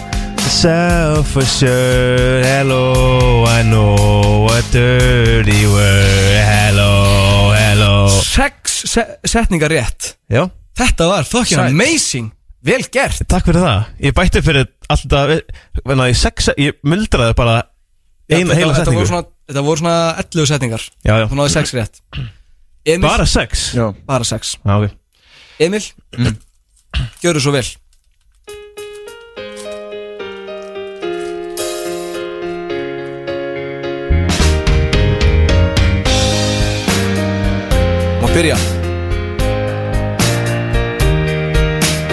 C: Self for sure Hello I know A dirty word Hello Hello
B: Sex se setningar rétt
C: Já
B: Þetta var fucking
C: Sæt.
B: amazing Vel gert
C: Takk fyrir það Ég bætti fyrir alltaf Þannig að ég sexa Ég muldraði bara Einu
B: þetta,
C: heila
B: þetta,
C: setningu
B: voru svona, þetta voru svona 11 setningar
C: Já, já
B: Þú náði sex rétt Emil,
C: Bara sex
D: Já
B: bara sex
C: Já, ok
B: Emil, gjöru svo vel Má byrja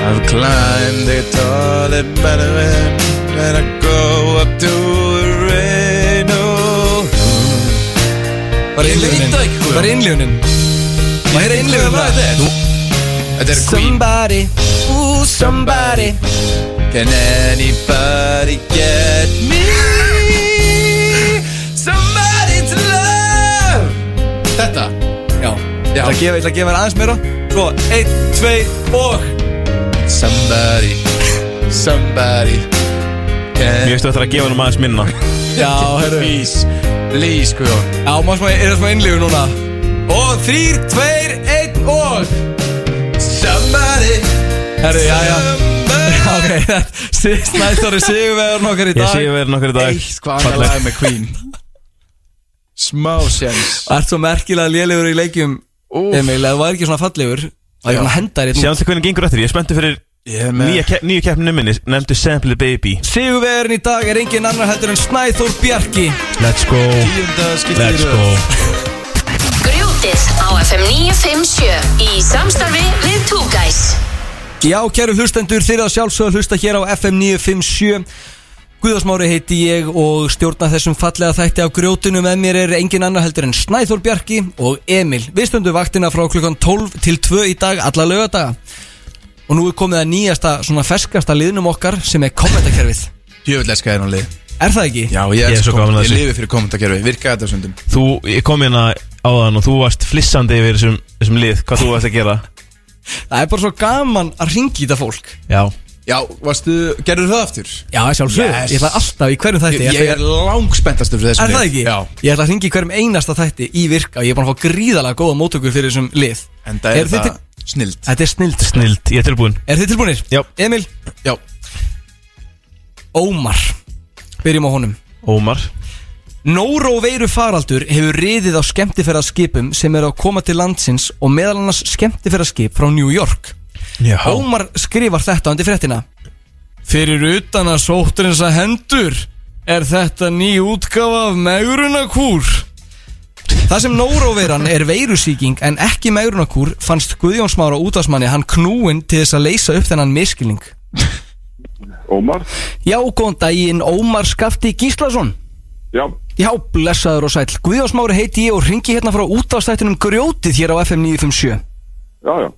D: I've climbed the tallest mountain And I go up to the rain oh.
B: Bara innljónin Bara innljónin Má heyra innljónin það
D: Þetta er Queen
B: Somebody Ooh somebody
D: Can anybody get me Somebody to love Þetta
B: Já
D: Já.
B: Ég ætla að gefa, ég ætla að gefa þér aðeins meira Svo, einn, tvei og
D: Somebody Somebody
C: Ég
D: Can
C: veistu þetta að gefa hann aðeins minna
B: Já, herru
D: Please Please, sko. Guðjón
B: Já, maður smá, er það smá innlífu núna Og þrýr, tveir, einn og
D: Somebody
B: Herru, já, já Já, ok, Snæþóri Sigurvegar nokkar í
C: Ég
B: dag
C: sé verið nokkur í dag
D: Eitt hvað annar lag með Queen Smá séns
B: Ert svo merkilega lélegur í leikjum
D: Úff.
B: Emil, ef þú væri ekki svona fallegur Það er hann að henda þér
C: Sjáum
B: hérna
C: til hvernig gengur eftir Ég er spenntu fyrir
D: Ég er
C: nýja kepp- nýju keppninu minni Nefndu Sample the Baby
B: Sigurvegarinn í dag er engin annar heldur en Snæþór Bjarki
C: Let's go
D: Tíunda skipti í
C: Let's
D: röð.
C: go
A: Grjótið á FM 957 í samstarfi við Two Guys.
B: Já, kæru hlustendur, þeir að sjálfsögðu að hlusta hér á FM 957 Guðasmári heiti ég og stjórna þessum fallega þætti á grjótinu með mér er engin annar heldur en Snæþór Bjarki og Emil Við stundum vaktina frá klukkan 12 til 2 í dag, alla lögadaga Og nú er komið að nýjasta, svona ferskasta liðnum okkar sem er kommentakerfið
D: Jöfull elska þér hann lið
B: Er það ekki?
D: Já, ég,
C: Ég er
D: elska
C: svo
D: kom-
C: gaman að
D: Ég
C: þessu.
D: lifi fyrir kommentakerfi, virka þetta á sundum
C: Þú, ég kom hérna áðan og þú varst flissandi yfir þessum, þessum lið Hvað þú varst að gera
B: Það er bara svo gaman að ringi þetta fólk
C: Já
D: Já, varstu, gerður það aftur?
B: Já, sjálfsögðu,
D: Yes.
B: ég ætla alltaf í hverjum
D: Ég,
B: þætti
D: ég er
B: ætla-
D: langspenntastur fyrir þessum
B: Er það
D: lið.
B: ekki?
D: Já,
B: Ég ætla að ringi hverjum einasta þætti í virka og ég er búin að fá gríðalega góða mótökur fyrir þessum lið
D: en það er
B: Eru þið
D: það
B: til-
D: Snild
B: Þetta er snild
C: Snild, ég er tilbúin
B: Er þið tilbúinir?
C: Já.
B: Emil,
D: Já
B: Ómar Byrjum á honum
C: Ómar
B: Nóróveiru faraldur hefur riðið á skemmtifæraskipum sem eru að koma til landsins og meðal annars skemmtifæraskip frá New York.
C: Já
B: Ómar skrifar þetta undir fréttina. Fyrir utan að sótturins að hendur er þetta ný útgáfa af megrunakúr. Það sem Nóróveiran er veirusíking en ekki megrunakúr fannst Guðjónsmára útásmanni hann knúinn til þess að leysa upp þennan miskilning.
J: Ómar?
B: Já, góðan daginn Ómar Skafti Gíslason.
J: Já,
B: Já, blessaður og sæl. Guðjónsmári heiti ég og ringi hérna frá útastættunum Grjótið hér á FM 957.
J: já, já.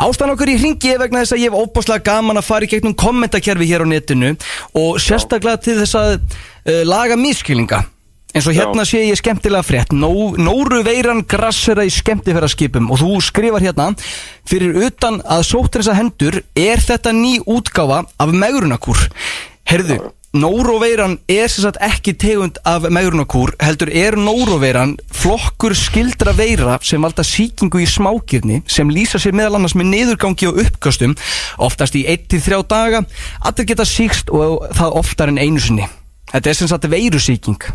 B: Ástæðan okkur ég ringi er vegna þess að ég hef óbáslega gaman að fara í gegnum kommentakerfi hér á netinu og sérstaklega til þess að uh, laga miskilinga. En svo hérna sé ég skemmtilega frétt. Nó, Nóru veiran grassera í skemmtifæraskipum og þú skrifar hérna fyrir utan að sótrinsa hendur er þetta ný útgáfa af megrunakúr. Herðu, Nóroveiran er sem sagt ekki tegund af megrunakúr, heldur er Nóroveiran flokkur skildra veira sem valda sýkingu í smákirni sem lýsa sér meðal annars með niðurgangi og uppköstum, oftast í 1-3 daga, allir geta síkst og það oftar en einu sinni. Þetta er sem sagt veirusýking.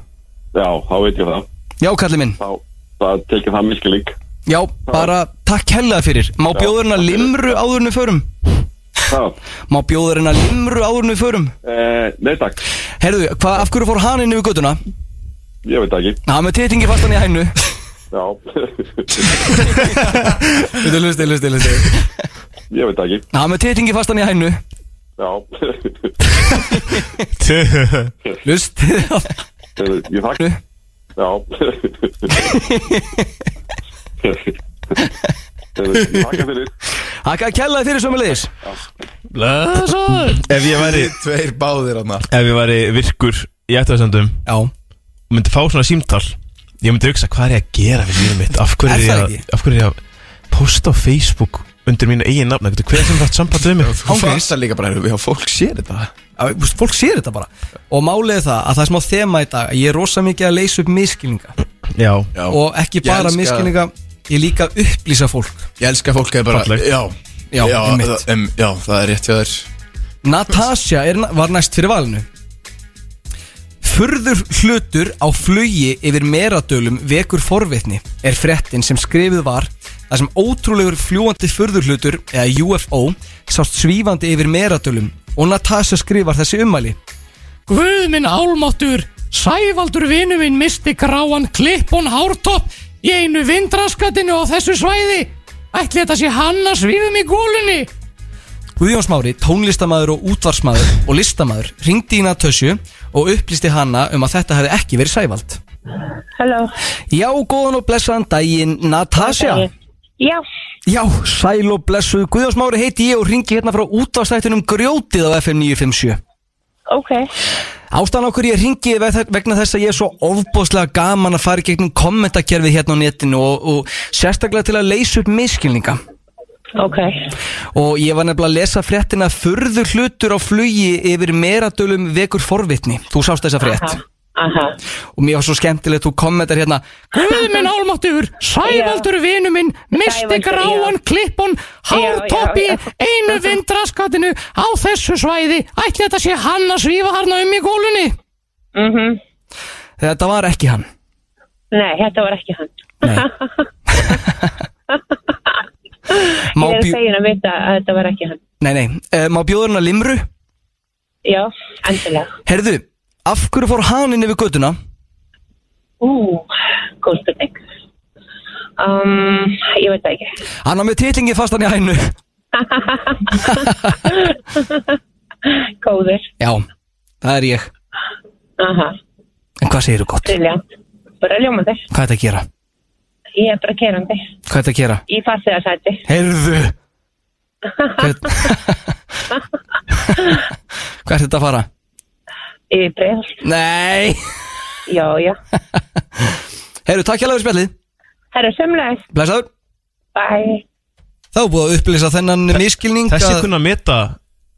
J: Já, þá veit ég það.
B: Já, kalli minn.
J: Þá, það tekið það miskilík.
B: Já, bara takk hella fyrir. Má bjóðurinn að limru áðurinn við förum?
J: Já,
B: Má bjóðurinn að limru áðurinn við förum?
J: e, nei takk,
B: Herðu, hva, af hverju fór hann inn yfir göduna?
J: ég veit það ekki.
B: Ná, með titingi fastan í hænu
J: Já,
B: Þetta er lusti, lusti, lusti
J: ég veit það ekki.
B: Ná, með titingi fastan í hænu
J: Já,
B: Lust
J: Heyrðu, ég þakka. Já, Heyrðu, ég þakka fyrir.
B: Hakka að kella þið fyrir sömulegis
C: Ef ég væri
D: Tveir báðir hann
C: Ef ég væri virkur í ætlaðsendum
B: Já,
C: og myndi fá svona símtal Ég myndi hugsa hvað er ég að gera fyrir lífum mitt Af hverju
B: Er
C: er,
B: það
C: ég
B: ekki?
C: að- af hverju er ég að posta á Facebook undir mínu eigin nafna Hver sem þátt samband við mig
D: Þú fannst það líka bara heyrðu, Já, fólk sér þetta
B: Á, þú veist, fólk sér þetta bara Og málið er það að það er smá þema í dag að Ég er rosa mikið að leysa upp miskilninga
C: Já
D: Já.
B: Og ekki
D: Ég
B: bara
D: elska-
B: miskilninga Ég líka að upplýsa fólk
D: Ég elska að fólk er bara
C: Fallegt.
D: Já
B: Já, einmitt.
D: það, em, já, það er rétt hjá þér
B: Natasja er, var næst fyrir valinu Furður hlutur á flugi yfir meradölum vekur forvitni er frettin sem skrifið var þar sem ótrúlegur fljúandi furður hlutur eða UFO sást svífandi yfir meradölum og Natasja skrifar þessi ummæli
E: Guð minn álmáttur, sævaldur vinnu minn misti gráan klippon hártopp í einu vindraskatinu á þessu svæði. Ætli þetta sé hann að svífum í gólunni.
B: Guðjón Smári, tónlistamaður og útvarsmaður og listamaður ringdi í Natasju og upplýsti hana um að þetta hefði ekki verið sævald
K: Halló.
B: Já, góðan og blessaðan daginn Natasja
K: Já,
B: Já, sæl og blessuð Guðjósmári heiti ég og ringi hérna frá útvarstættunum Grjótið á FM 957
K: ok.
B: Ástæðan okkur ég ringi vegna þess að ég er svo ofbóðslega gaman að fara í gegnum kommentakerfið hérna á netinu og, og sérstaklega til að leysa upp miskilninga
K: Ok.
B: og ég var nefnilega að lesa fréttina furður hlutur á flugi yfir meradölum vekur forvitni þú sást þessa frétt
K: Aha. Aha.
B: og mér var svo skemmtilegt þú kommentar hérna
E: Guð minn álmáttur, sævaldur vinnu minn misti
K: Sævaldur,
E: gráan
K: já.
E: klippon hártopp í
K: Já, já, já.
E: einu vindraskatinu á þessu svæði. Ætli þetta sé hann að svífa hann um í gólunni.
K: Mhm.
B: þetta var ekki hann
K: Nei, þetta var ekki hann.
B: má,
K: Ég er
B: bjó...
K: fegin að vita að þetta var ekki hann.
B: nei, nei. Uh, má bjóðurinn að limru?
K: Já, endilega.
B: Herðu, af hverju fór hann inn yfir göttuna?
K: Ú, góð spurning. Um, ég veit það ekki.
B: Hann á með titlingi fastan í hænu
K: Góður.
B: Já, það er ég
K: Aha.
B: En hvað segirðu gott?
K: Briljant. Bara ljómandi.
B: Hvað er þetta að gera?
K: Ég er bara kerandi.
B: Hvað er þetta að gera?
K: Í farþegarsæti.
B: Heyrðu Hvern- Hvað er þetta að fara?
K: Í bregðast.
B: Nei
K: Já, já.
B: Heyrðu, takk hérlega fyrir spjallið
K: Herra, sömlega.
B: Blessaður
K: Bye.
B: Þá er búið að upplýsa þennan miskilning
C: Þessi
B: að-
C: kunna að meta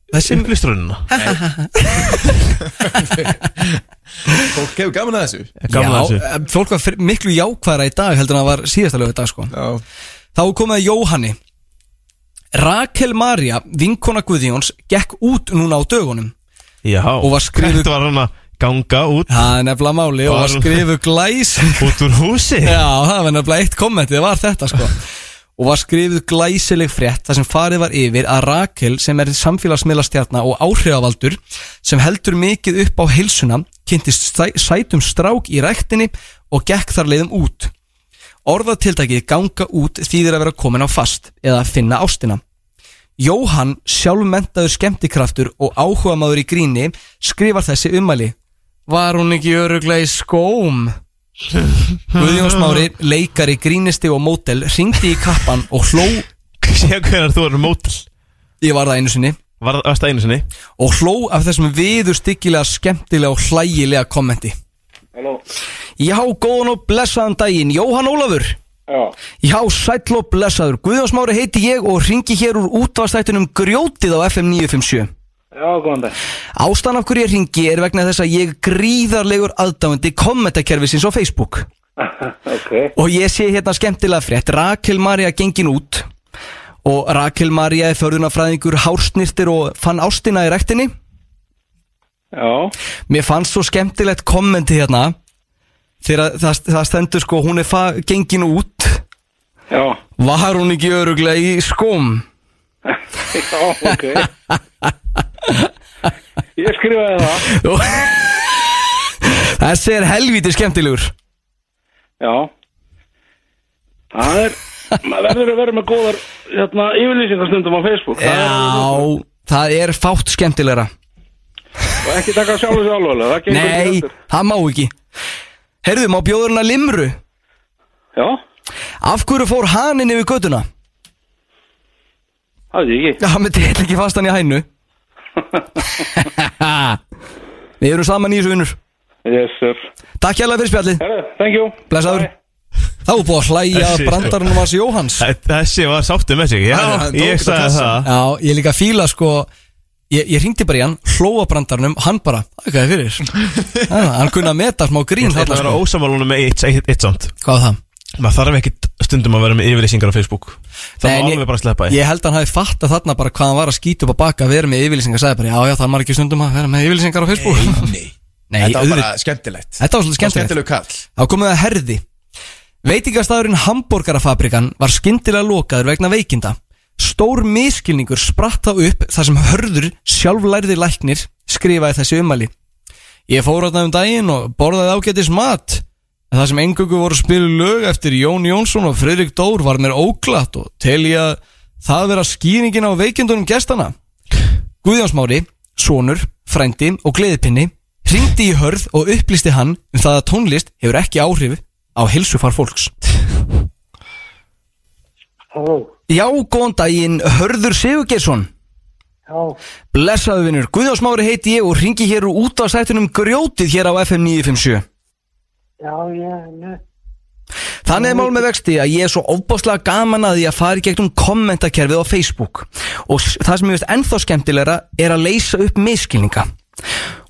B: Þessi
C: upplýstrunina
D: Fólk hefur gaman að þessu
C: Gamla
B: Já,
C: þessu
B: eh, fólk var fyr- miklu jákvæðra í dag heldur en það var síðasta lög í dag sko
D: Já
B: Þá er komið að Jóhanni Rakel Maria, vinkona Guðjóns gekk út núna á dögunum
C: Já, og var skrifu Þetta var hann að ganga út
B: Það er nefnilega máli og var skrifu glæs
C: Út úr húsi
B: Já, það var nefnilega eitt kommentið, var þetta sko Og var skrifuð glæsileg frétt þar sem farið var yfir að Rakel sem er samfélagsmiðlastjarna og áhrifavaldur sem heldur mikið upp á heilsuna kynntist sæ- sætum strák í ræktinni og gekk þar leiðum út. Orðatiltækið ganga út þýðir að vera komin á fast eða að finna ástina. Jóhann, sjálfmentaður skemmtikraftur og áhugamaður í gríni, skrifar þessi ummæli. Var hún ekki öruglega í skóm? Guðjón Smári, leikari, grínisti og mótel, ringdi í kappan og hló
C: Sér hverjar þú eru mótel?
B: Ég var það einu sinni
C: Var, Varst það einu sinni?
B: Og hló af þessum viður styggilega, skemmtilega og hlægilega kommenti
L: Halló
B: Já, góðan og blessaðan daginn, Jóhann Ólafur
L: Já.
B: Já, sæll og blessaður, Guðjón Smári heiti ég og ringi hér úr útvastættunum Grjótið á FM 957
L: Já, góðan dag
B: Ástæðan af hverju ég ringi er vegna þess að ég er gríðarlegur aðdáandi kommentakerfisins á Facebook
L: Ok
B: Og ég sé hérna skemmtilega frétt Rakel Maria gengin út Og Rakel Maria er förðunafræðingur hársnýrtir og fann ástina í rektinni
L: Já
B: Mér fannst svo skemmtilegt kommenti hérna Þegar það, það stendur sko Hún er fa- gengin út
L: Já
B: Var hún ekki öruglega í skóm?
L: Já, ok Ég skrifaði það
B: Þessi er helviti skemmtilegur
L: Já Það er maður verður að vera með góðar hérna, yfirlýsingarstundum á Facebook Það
B: Já, það er fátt skemmtilegra
L: er- og ekki taka sjálf þessu alvarlega Það gengur ekki
B: Nei,
L: heldur.
B: það má ekki Herðu, má bjóður hana limru?
L: Já
B: Af hverju fór haninn yfir göduna?
L: Það er ekki
B: Já, með þetta ekki fast hann í hænu Við erum saman í þessu vinnur
L: Yes sir
B: Takk hérlega fyrir spjallið
L: Thank you
B: Blessaður Þá er búið að hlæja að
C: Þessi-
B: brandarinn var Jóhanns
C: Þessi var sáttum með sig Já,
B: Hann- hann tók
C: ég
B: þetta
C: sagði
B: klassa.
C: það
B: Já, ég líka fíla sko Ég, ég ringdi bara í hann, hlóa brandarnum, hann bara, það er hvað þið fyrir Já, Hann kunna að meta smá
C: Ég
B: grín
C: ætla
B: þarna
C: að vera
B: sko
C: ósamálunum með eitt, eitt, eitt samt
B: Hvað það?
C: Maður þarf ekkit stundum að vera með yfirlýsingar á Facebook Það er
B: Nei, en ég-
C: alveg bara að sleppa því
B: Ég held að hann hafi fattað þarna bara hvað hann var að skýta upp að baka að vera með yfirlýsingar, sagði bara, já, já, það er margir stundum að vera með yfirlýsingar á Facebook Nei, nei
D: Þetta var bara
B: auðvitað.
D: skemmtilegt
B: Þetta var svolítið skemmtilegt
D: Skemmtileg kall
B: Þá komum við að herði Veitingastæðurinn Hamborgarafabrikan var skyndilega lokaður vegna veikinda Stór miskilningur spratt þá upp þar sem hörður sjálflærði læknir skrifaði þessi ummæli Ég fór átna um daginn og borðaði ágætis mat en það sem engungu voru að spila lög eftir Jón Jónsson og Fredrik Dór var mér óglatt og tel ég að það vera skýringin á veikindunum gestana Guðjónsmári, sonur, frændi og gleðipinni ringdi í hörð og upplýsti hann um það að tónlist hefur ekki áhrif á heilsufar fólks.
L: Halló
B: Já, góðan daginn, Hörður Sigurgesson.
L: Já
B: Blessaðu vinnur, Guðjónsmári heiti ég og ringi hér úr út af sættunum grjótið hér á FM 957.
L: Já, já,
B: Þannig er mál með vexti að ég er svo ofbáslega gaman að því að fara í gegnum kommentakerfið á Facebook og s- það sem ég veist ennþá skemmtilegra er að leysa upp miskilninga.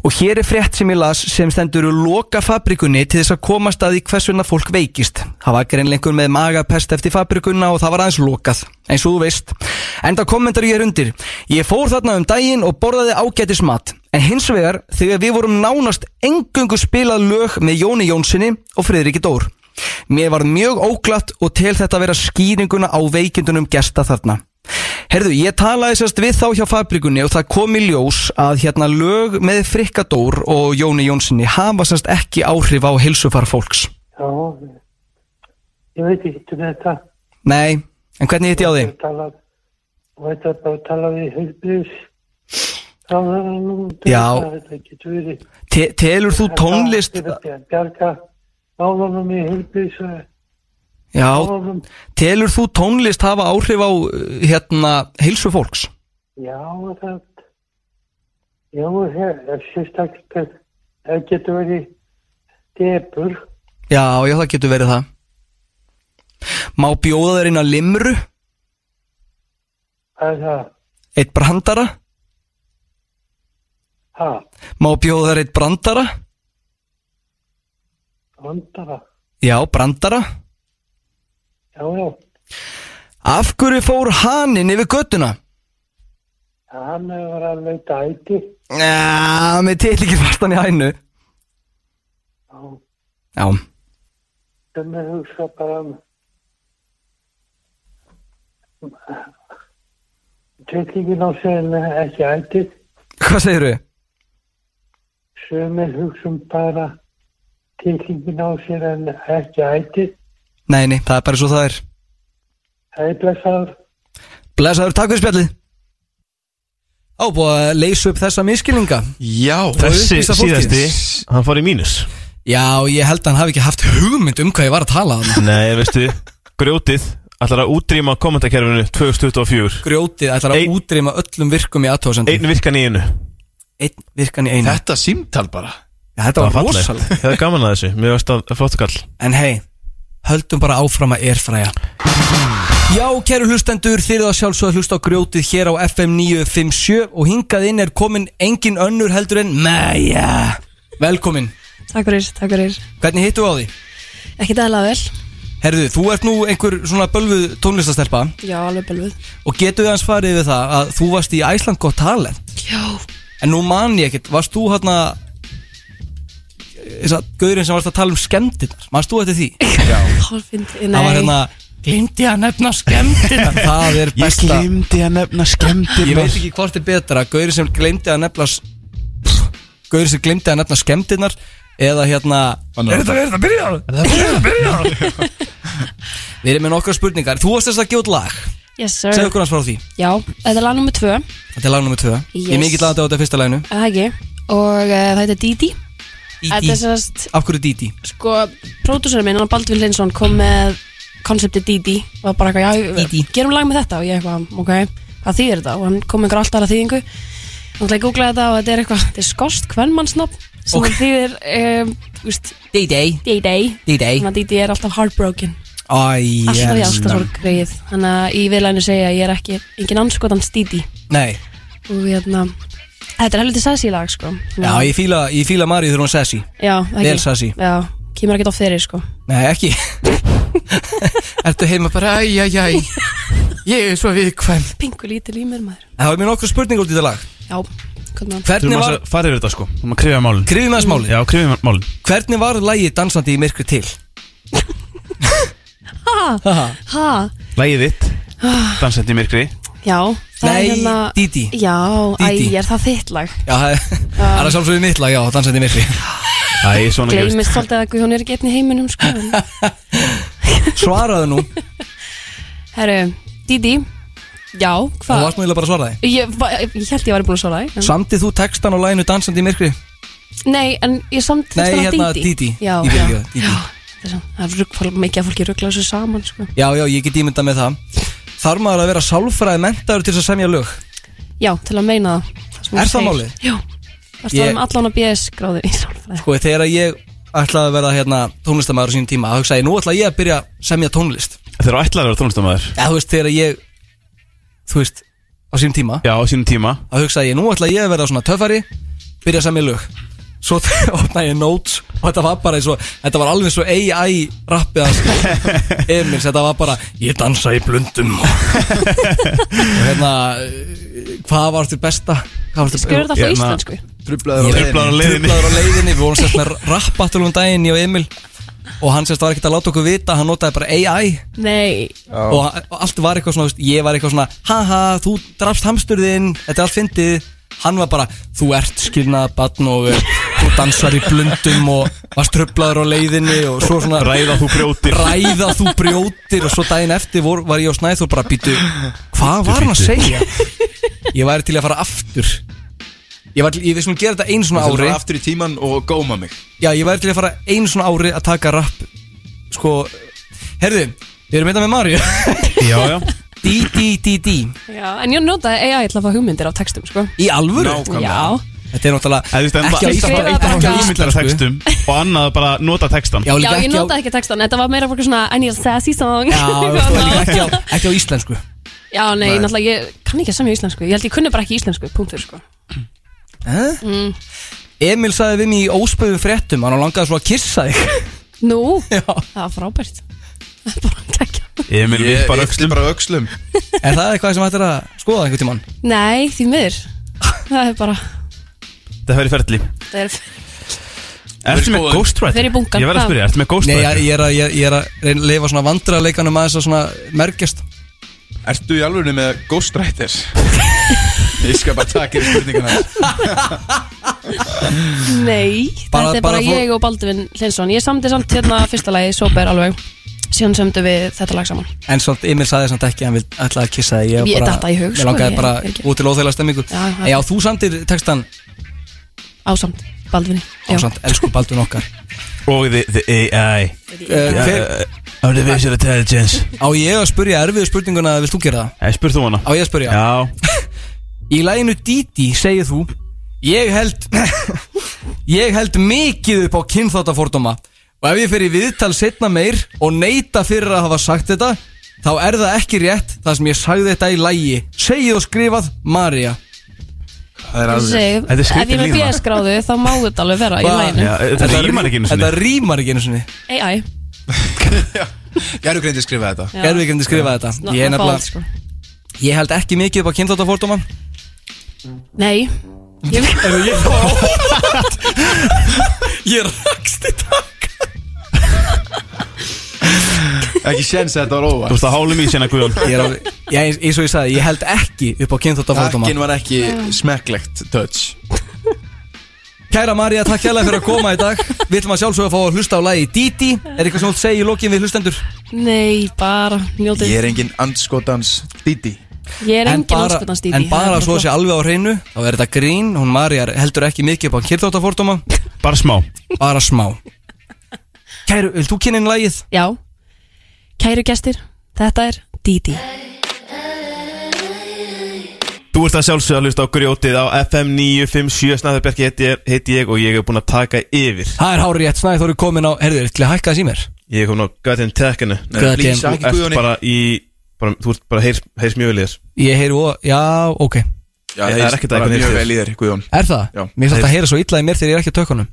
B: Og hér er frétt sem ég las sem stendur úr loka fabrikunni til þess að komast að því hvers vegna fólk veikist. Það var greinleikur með magapest eftir fabrikunna og það var aðeins lokað, eins og þú veist. Enda kommentar ég er undir. Ég fór þarna um daginn og borðaði ágætis mat. En hins vegar þegar við vorum nánast engungu spilað lög með Jóni Jónssoni og Friðriki Dór. Mér var mjög óglatt og tel þetta vera skýringuna á veikindunum gesta þarna. Herðu, ég talaði sérst við þá hjá fabrikunni og það kom í ljós að hérna lög með Frikkadór og Jóni Jónssoni hafa sérst ekki áhrif á heilsufar fólks.
L: já Ég veit ekki til þetta
B: Nei, en hvernig hitt ég á því?
L: tala, veit að bara tala við heilbrís það er nú
B: Já.
L: þetta getur verið
B: Te telur þú tónlist,
L: Þetta er að bjarga málunum í heilbrís
B: já, telur þú tónlist hafa áhrif á uh, hérna heilsu fólks?
L: já það já það er sérstaklega það getur verið debur
B: Já, já, það getur verið það. Má bjóða þær inn að limru,
L: það er það
B: eitt brandara?
L: ha,
B: Má bjóða þær eitt brandara?
L: vandara
B: Já, brandara.
L: já já
B: Af hverju fór haninn yfir göttuna?
F: Hann hefur alveg dæti.
B: Já, með titlingir fastan í hænu Já,
F: sem er hugsa bara um Tillingin á sér ekki ættið,
B: hvað segirðu?
F: sem er hugsa um bara tillingin á sér en ekki ættið,
B: Nei, nei, það er bara svo það er
F: það er blessaður.
B: Blesaður, takk fyrir spjallið Á, búið að leysa upp þessa miskilninga
D: Já,
C: Þessi síðasti, hann fór í mínus
B: Já, ég held að hann hafi ekki haft hugmynd um hvað ég var að tala um
C: Nei, veistu, grjótið ætlar að útrýma kommentakerfinu 2024
B: Grjótið ætlar að útrýma öllum virkum í aðtóðsendum
C: Einn virkan í einu
B: Einn virkan í einu
D: Þetta símtal bara
B: ja, Þetta var
C: fallegt.
B: rosalegt
C: Ég hefði gaman að þessu, mér varst að flott kall
B: En hei, höldum bara áfram að erfræja Já, kæru hlustendur, þið eruð að sjálfsögða að hlusta á grjótið hér á FM 957 og hingað inn er komin engin önnur heldur en Mæja Velkomin,
K: Takk fyrir, takk fyrir.
B: hvernig hittu á því?
K: Ekki dæla vel.
B: Herðu, þú ert nú einhver svona bölvuð tónlistastelpa
K: Já, alveg bölvuð.
B: og getur við hans farið við það að þú varst í Æsland gott talent
K: Já.
B: En nú man ég ekkert, varst þú hérna þess að gaurinn sem varst að tala um skemmtinnar, manst þú eftir því? Já
K: Hálfind, nei.
B: Það var hérna
M: Glimti að nefna skemmtina
B: Það er besta
M: Ég
C: gleymdi að nefna skemmtinnar
B: Ég veit ekki hvort er betra, gaurinn sem gleymdi að nefna s- Gaurinn sem gleymdi að nefna skemmtinnar Eða hérna
M: Er þetta- er þetta
B: byrjað? Er þetta byrjað? Við erum með nokkra spurningar Þú varst þess að gefa út lag
K: Yes, sir.
B: Segðu okkur hans frá því
K: Já, þetta er lag nummið tvö,
B: Þetta er lag nr. 2 Ég er
K: Yes.
B: mikið lagandi á þetta fyrsta laginu
K: er það ekki? Og uh, það heitir Didi. Þetta er
B: Dídí
K: sérst,
B: Af hverju Dídí?
K: sko, pródúsarinn minn, hann Baldvin Linsson, kom með konsepti Didi og var bara eitthvað, já, Didi. gerum lag með þetta og ég eitthvað, ok, hvað þýðir þetta? Og hann kom með einhver alltaf aðra þýðingu. Þannig að ég googlaði þetta og þetta er eitthvað, þetta er skost kvennmannsnafn sem
B: Ok.
K: okay. þýðir, um, úst,
B: Didi.
K: Didi.
B: Didi.
K: Þannig að Didi er alltaf heartbroken.
B: Æ,
K: Alltaf í
B: elskan.
K: ástasorg greið Þannig að í viðlæðinu segja að ég er ekki engin anskotans díti
B: Nei,
K: Og hérna Þetta er helviti sessi lag sko
B: já, ég fíla, ég fíla Maríu þegar hún er sessi
K: Já, ekki
B: Vel sessi
K: Já, kemur ekkert oft fyrir sko
B: Nei, ekki Ertu heima bara, æj, æj, æj Ég er svo viðkvæm
K: Pingu lítil í mér maður
B: Það var mér nokkur spurning út í þetta lag
K: Já, hvernig hann
B: Hvernig var,
C: Farið við þetta sko, þú maður krifja málin
B: Krifjum aðeins málin?
C: Já, krifja málin
B: hvernig var lagið Dansandi í myrkri til?
K: Ha, ha,
C: Lægið þitt, dansandi Ah. í myrkri
K: já það er
B: Nei,
K: hérna...
B: Dídí.
K: Já,
B: Dídí.
K: æ, er það þitt lag
B: Já, það er- það er sjálfsögðu mitt lag, já, Dansandi í myrkri
C: Æ, svona
K: Gleimist svolítið að Guðjón er ekki einn í heiminum sko en-
B: Svaraðu nú,
K: Herru, díti Já,
B: þú
K: hvað?
B: varst nú eiginlega bara að svara þig
K: Ég, va- ég held ég væri búin að svara því en-
B: Samtið þú textan á laginu Dansandi í myrkri?
K: Nei, en ég samt
B: Nei,
K: þetta var
B: hérna, Dídí.
K: Já,
B: Ég
K: já,
B: fyrirgefðu, Dídí.
K: já Það er samt- það er rugg- mikið að fólki ruggla þessu saman sko.
B: Já, já, ég get ímyndað með það Þarf maður að vera sálfræði mentaður til þess að semja lög?
K: Já, til að meina það, það
B: Er það málið?
K: Já, það
B: Ég-
K: er um allan að BS gráður í sálfræði
B: Sko þegar ég ætlaði að verða hérna, tónlistamæður á sínum tíma þá hugsaði ég, nú ætla ég að byrja að semja tónlist
C: Þeir eru ætlaður að vera tónlistamæður
B: eða þú veist þegar ég þú veist á sínum tíma
C: Já, á sínum tíma
B: þá hugsaði ég nú ætla ég að verða svona töffari byrja að semja lög svo opnaði ég notes og þetta var bara eins og þetta var alveg svo AI rappið hans Emils þetta var bara ég dansa í blundum og hérna eh, hvað var þetta besta hvað varstu-
K: Skurðu
C: Hérna,
K: það frá íslensku?
B: Trublaður
C: á leiðinni.
B: Trublaður á leiðinni Við vorum sérst með rappattulum daginn Ég og Emil Og hann sérst var ekkert að láta okkur vita Hann notaði bara AI
K: Nei,
B: og, og allt var eitthvað svona þú veist, Ég var eitthvað svona Haha, þú drafst hamsturðinn Þetta er allt fyndið Hann var bara Þú ert skilnað barn og eh, Þú dansar í blundum Og varst trublaður á leiðinni Og svo svona
C: Ræða þú brjótir.
B: Ræða þú brjótir Og svo daginn eftir vor, var ég á Snæþór bara býtu Hvað var hann að
C: bíddu."
B: segja? Ég væri til í að fara aftur Ég, var, til- ég við skulum gera þetta einu svona
D: Þú
B: ári
D: fyrir aftur í tíman og góma mig
B: Já, ég væri til að fara einu svona ári að taka rapp Sko, herðu, við erum eitthvað með Mario
C: Já, já
B: Dí, dí, dí, dí
K: já, en ég notaði AI til að fá hugmyndir á textum sko.
B: Í alvöru?
K: Já,
B: Þetta er náttúrulega
C: Eða þú veist,
B: Ekki á
C: eitt
B: íslensku,
C: af- eitt af
B: ekki á
C: það hugmyndar að
B: íslensku.
C: textum og annað bara nota textan
K: já ég notaði ekki textan Þetta var meira fólk svona I need a sassy song
B: Já, þú veist, það er líka ekki á, ekki á íslensku
K: já nei,
B: Nei.
K: náttúrulega ég kann ekki að semja íslensku Ég held ég kunni bara ekki íslensku, punktur sko.
B: eh?
K: mm.
B: Emil sagði við mig í óspöðum fréttum Hann langaði svo að kissa þig
K: Nú, það var frábært
C: Emil
D: Ég
C: vippar
D: yppti
C: öxlum
D: bara öxlum
B: Er það eitthvað sem ættir að skoða einhvern tímann?
N: Nei, því miður Það er bara,
C: Það fer í ferli
N: það er
C: Ertu með Ghostwriter?
N: Fer í bunkann.
C: Ég verð að spyrja, ertu með
B: Nei, ég,
C: Ghostwriter?
B: ég er að, ég, ég er að reyna að lifa svona vandrarleikanum að þess að svona merkjast
D: Ertu í alvörinu með ghostwriter? ég skal bara taka þér spurninguna
N: Nei,
D: Bara-
N: þetta
D: bara
N: er bara,
D: fólk-
N: ég og Baldvin Linsson Ég samdi samt hérna fyrsta lagi, Sober alveg Síðan sömdu við þetta lag saman
B: En svolítið, Emil sagði samt ekki, að hann vil ætla að kissa þig var
N: Ég
B: bara-
N: datt það í hug,
B: Mér
N: sko,
B: langaði
N: ég-
B: bara
N: ég er ekki-
B: út til óþægilega stemmingu
N: Já, já.
B: En já, þú samtir textan
N: Ásamt, Baldvinni Já.
B: Ásamt, elsku Baldur nokkar
C: Og the, the AI
B: Eh, hver-
C: Artificial Intelligence
B: Á ég að spurja erfiðu spurninguna eða vilt þú gera það?
C: Nei, spurð Eh, þú hana
B: Á ég að spurja?
C: Já
B: Í læginu Didi segir þú Ég held Ég held mikið upp á kynþáttafordóma Og ef ég fer í viðtal setna meir Og neita fyrir að hafa sagt þetta Þá er það ekki rétt Það sem ég sagði þetta í lægi Segið og skrifað Maria
D: Það
N: Ég segi, Ef ég er með BS-gráðu þá má þetta alveg vera í læginu
C: þetta rímar ekki einu sinni.
B: Þetta rímar ekki einu sinni
N: AI
D: Gerðu greindi skrifa þetta
N: Já.
B: Gerðu ekki að skrifa
N: It's
B: þetta
N: not sko.
B: Ég er
N: my fault,
B: nefnilega Ég held ekki mikið upp á kynþáttafordóma
N: Nei Ég
B: Eða ég Ég rakst í takk
D: Ekki séns að þetta var óvart
C: Þú veist að hálum í sinna Guðjón
B: Ég er alveg- Já, eins eins og ég sagði, ég held ekki upp á kynþáttafordóma
D: Takkin var ekki smekklegt touch
B: Kæra Marja, takk hérlega fyrir að koma í dag Við ætlum að sjálfsögja að fá að hlusta á lagi Didi Er eitthvað sem þú vilt segja í lokin við hlustendur?
N: Nei, bara njótið
D: Ég er engin andskotans díti
N: Ég er
B: En
N: engin
B: bara-
N: óskotans díti
B: En bara svo sé alveg á hreinu Þá er þetta grín, hún Marja heldur ekki mikið upp á kynþáttafordóma
C: Bara smá
B: Bara smá Kæru, vil þú kynna inn lagið?
N: Já Kæru gestir, þetta er Didi
C: Þú ert að sjálfsögða að hlusta á grjótið á FM 957 Snæðarbergi heiti, ég- heiti ég og ég hef búin að taka yfir
B: Það er hárið rétt snæði, þú eru komin á Herðu, er til að hækka þess í mér?
C: Ég hef komin á goddamn tekkinu Nei,
B: Goddamn-
C: please,
B: Ekki
C: Þú ert
B: Guðjóni.
C: bara í bara, Þú ert bara heyrs, heyrs mjög vel í þér
B: Ég heyri og, já, ok
D: Já,
C: Ég-
D: það
C: það
D: heyrist
C: er ekkert
D: bara
C: að
D: mjög vel í þér, Guðjón.
B: Er það?
C: Já.
B: Mér finnst þetta að heyra svo illa í mér þegar ég er ekki á tökunum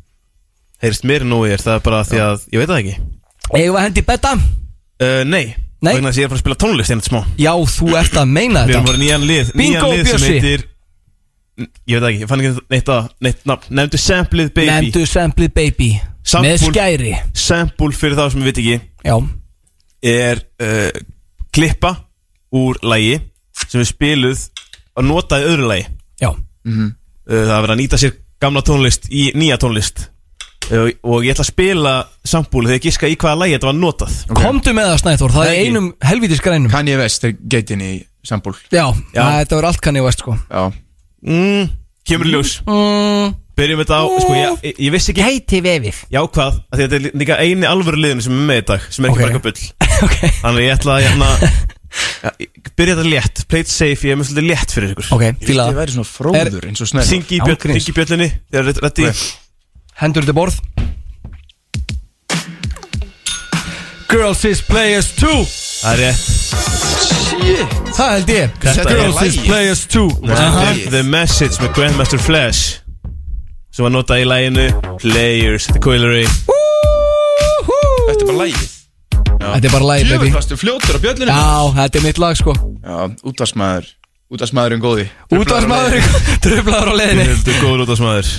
C: Heyrst mér nú ég er það er bara því að Ég veit það ekki
B: Eigum við að hendi betta?
C: uh, Nei
B: Nei.
C: Vegna þess að ég er að fara að spila tónlist einnig smá
B: Já, þú ert að meina
C: Við
B: þetta
C: erum bara nýjan lið
B: Bingo,
C: nýjan lið sem
B: Bjössi.
C: heitir- N- Ég veit það ekki, ég fann ekki neitt að Neitt nafn Nefndu samplið baby
B: Nefndu samplið baby Með skæri
C: Sample fyrir þá sem við veit ekki
B: Já
C: Er uh, klippa úr lægi Sem við spiluð Og notaði öðru lægi
B: Já
C: uh, Það er verið að nýta sér gamla tónlist Í nýja tónlist uh, Og ég ætla að spila sample Þegar ég giska í hvaða lægi þetta var notað
B: Komdu með það Snæþór, það er
C: Nei.
B: einum helvítis grænum
D: Kanye West er geitin í sambúl
B: Já, það- þetta verður allt kannið vest sko
D: Já
C: mm, Kemur í ljós
B: mm.
C: Byrjum þetta á, sko ég, ég- ég vissi ekki
B: Heiti vefið
C: Já hvað, af því að þetta er líka eini alvöru liðinu sem er með í dag Sem er ekki bara eitthvað bull okay. Þannig að ég ætla að hérna ja, ég- Byrja þetta létt, play it safe, ég er mjög svolítið létt fyrir ykkur
B: Ok, fíla
D: Ég væri svona fróður eins og snær
C: Syngi í
B: Án
C: bjöll,
B: gríns.
C: syngi í bjöllinni Þegar þetta er rétt
B: Hendur til borð Girls is players too
C: Það er rétt
D: Shit
B: Það held ég
C: Þetta er
B: Girls is
C: lagið.
B: players too
C: Þetta er The Message með Grandmaster Flash Sem var notað í læginu Players, The Coilery
D: Þetta er bara lægið
B: Þetta er bara lagið, baby.
D: Jöfnvastu fljótur á bjöllinu
B: Já, þetta er mitt lag sko
D: Já, útvarsmaður Útvarsmaðurinn góði
B: Útvarsmaður Tröflaður á leiðinni
C: Þetta er góður út af smaður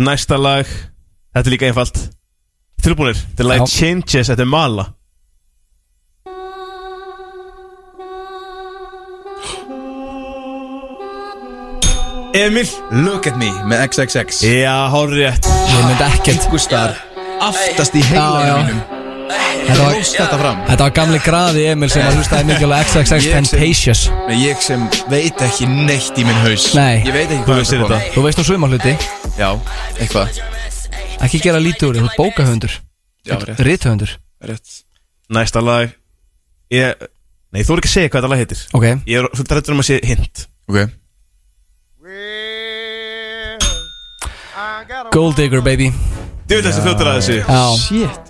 C: Næsta lag Þetta er líka einfalt Tilbúinir, þetta er lagið Changes, þetta er Mala Emil
D: Look at me með XXX
C: Já, hárið rétt
B: Ég myndi ekkert
D: Gustar Aftast í heila mínum
B: Þetta var-
D: Róst þetta fram
B: Þetta var gamli graði Emil sem að hlustaði mikið á XXX Temptations
D: Nei, ég sem veit ekki neitt í minn haus
B: Nei.
D: Ég veit
B: Þú
D: ekki hvað
B: vissir
D: kom.
B: Þú veist nú suma hluti
D: Já, eitthvað
B: Ekki gera lítið úr, þér, þú ert bókahöfundur
D: Já, rétt.
B: Rithöfundur
D: Rétt
C: Næsta lag ég, Nei, þú er ekki að segja hvað þetta lag heitir
B: Ok.
C: Ég er svolítið rættur um að sé hint
D: Ok
B: Gold digger baby
C: Þú veit þessi fljótur að þessu
B: Já
D: Shit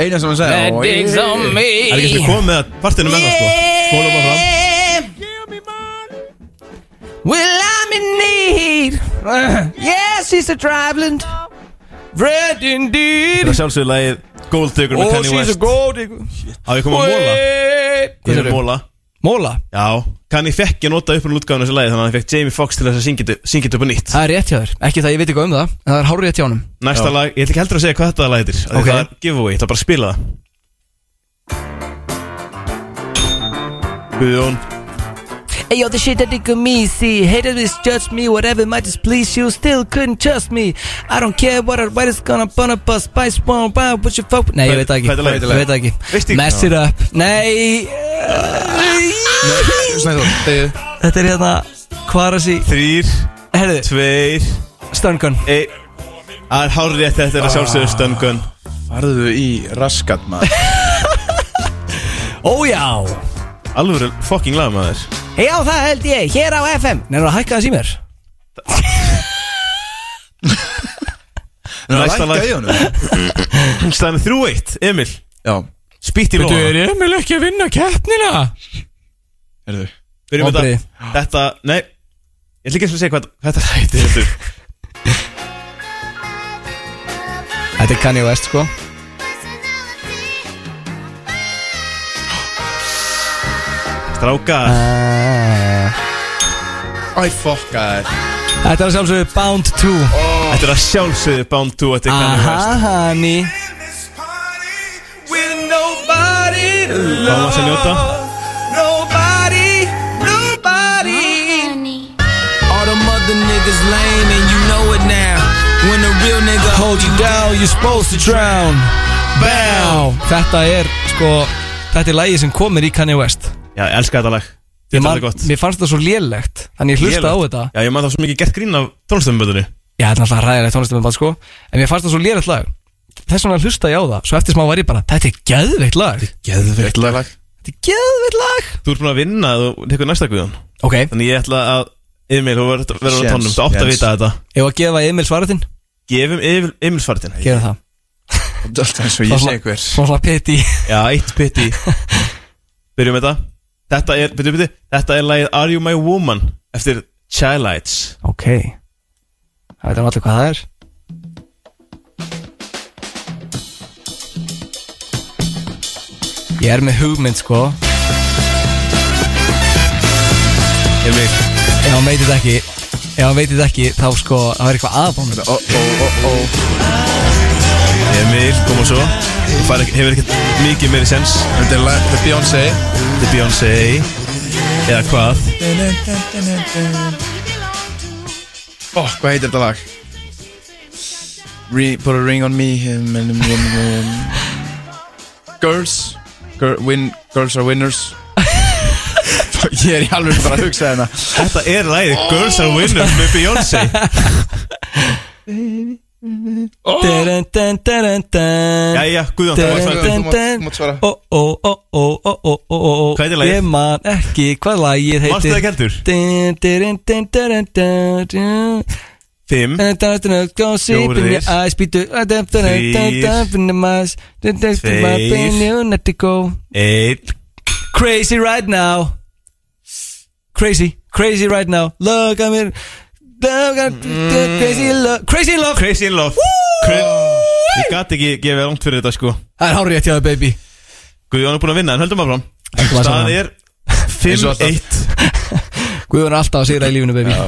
D: Eina sem hann sagði
B: That
D: "Oj."
B: digs on me.
C: Það er ekki sem komið að partinu með það sko Skóla bara fram
B: Well I'm in need Yes she's a traveling Bread indeed
C: Þetta er sjálfsögur lagið Gold digger með
D: Oh,
C: Kanye
D: she's
C: West
D: a gold digger.
C: Á, ég kom að móla Hvað er
B: Hvað
C: móla?
B: Móla?
C: Já, Kanye fekk ég nota upp úr útgáðinu þessu lagi Þannig að hann fekk Jamie Foxx til þess að syngja þetta- syngja þetta upp á nýtt
B: Það er rétt hjá þér, ekki það ég veit eitthvað um það en Það er hárið rétt hjá honum
C: Næsta lag, ég ætla ekki heldur að segja hvað þetta lag heitir af því
B: Ok.
C: Það er giveaway, ég ætla bara að spila það Guðjón
O: Hey yo, the shit that they could me see Haters misjudge me, whatever might displease you Still couldn't trust me I don't care what everybody's gonna burn up a spice bomb Why would you fuck
B: Nei, ég veit það ekki,
O: Hvað er lagið?
B: ég veit það
O: Veistu
B: ekki
O: ekki?
B: Mess it up, nei Þetta er hérna, hvað er þessi
C: Þrýr, tveir
B: Stöngun
C: Það er hárið rétt, þetta er að sjálfsögur stöngun
D: Farðu í raskat maður
B: Ójá
C: Alvöru fucking lag maður
O: Já, það held ég, hér á FM
B: Nei, það hækka þess í mér
D: Nei,
C: Næsta
D: lækkaði í
C: lag Stæðan 3-1, Emil
D: Já
C: Spýtt í
E: Þú er
C: lóðan
E: Emil ekki að vinna keppnina
D: Herðu
C: Byrjum við
D: Vonbrigði.
C: þetta Þetta, nei Ég ætla ekki einu sinni að segja hvað hvað þetta hætti heldur
B: Þetta er Kanye West sko
C: Strákar
D: Æ, fokkar
B: Þetta er að sjálfsögðu Bound 2
C: Þetta er að sjálfsögðu Bound 2 Þetta er Kanye
B: Aha,
C: West
B: honey
A: With nobody to
C: Hvað var það að njóta?
A: Nobody, nobody
O: All them other niggas lame and you know it now When a real nigga
B: Hold you down, you're supposed to drown Bow Þetta er sko Þetta er lagið sem komir í Kanye West
C: Já, ég elska þetta lag
B: Ég
C: Þetta
B: man-
C: er gott
B: Mér fannst það svo lélegt Þannig ég hlusta á
C: Lélegt.
B: þetta
C: Já, ég maður það var svo mikið gert grín af tónlistamöndunni
B: Já, þetta er alltaf ræðilegt tónlistamönd sko En mér fannst það svo lélegt lag Þess vegna hlusta ég á það Svo eftir smá var ég bara Þetta er geðveikt lag
C: Geðveikt lag
B: Þetta er geðveikt lag
C: Þú ert búin að vinna Þú tekur næsta guðan
B: Ok
C: Þannig ég ætla að Emil, þú verður verður
B: Sjens,
C: á tónum Þú átt að
B: sjens.
C: vita þetta
B: Ég var að gefa Emil svaratinn
C: Gefum Emil, Emil svartin
B: Gera það
D: Það er alltaf eins og
B: Svo
D: ég
B: svona-
D: sé hver
B: Svo svona peti
C: Já, eitt pitti Byrjum þetta Þetta er, byrju, byrju Þetta er lagið Are You My Woman Eftir Chilites
B: Ok Það veitum allir hvað það er Ég er með hugmynd sko
C: Emil
B: Ef hann veitir þetta ekki Ef hann veitir þetta ekki Þá sko Það verður eitthvað aðbámið
D: Ó, ó, ó, ó
C: Emil, kom og svo Þú fær ekki- Hefur ekkert mikið meiri sens
D: Þetta er lag- þetta er Beyoncé
C: Þetta er Beyoncé Eða hvað
D: Ó, hvað heitir þetta lag? Re put a ring on me him and him, him, him. Girls Girl, win, Girls are winners Ég er í alveg bara að hugsa hérna
C: Þetta er lagið Girls are winners með Beyoncé
B: Dun, dun, dun, dun, dun.
C: Jæja, Guðjón, þú mátt svara.
B: Dun,
C: Þú mátt-
B: dun,
C: þú mátt
B: dun. Ó, ó, ó, ó, ó, ó, ó, ó
C: Hvað heitir lagið?
B: Ég man ekki hvað lagið heitir
C: Manstu það ekki heldur?
B: Dun, dun, dun, dun, dun, dun.
C: Fimm Fjórir. Tveir.
B: Fjórir
C: Einn
B: Crazy right now Crazy, crazy right now Look I'm in look, I'm- Crazy in love Crazy in love
C: Crazy in love Kr- Ég gat ekki gefið langt fyrir þetta sko
B: Það er hárið eftir það baby
C: Guðjón er búin að vinna en höldum áfram
B: Höldum áfram.
C: Staðan er
B: Eins og
C: 5-1
B: Guðjón er alltaf að sigra í lífinu baby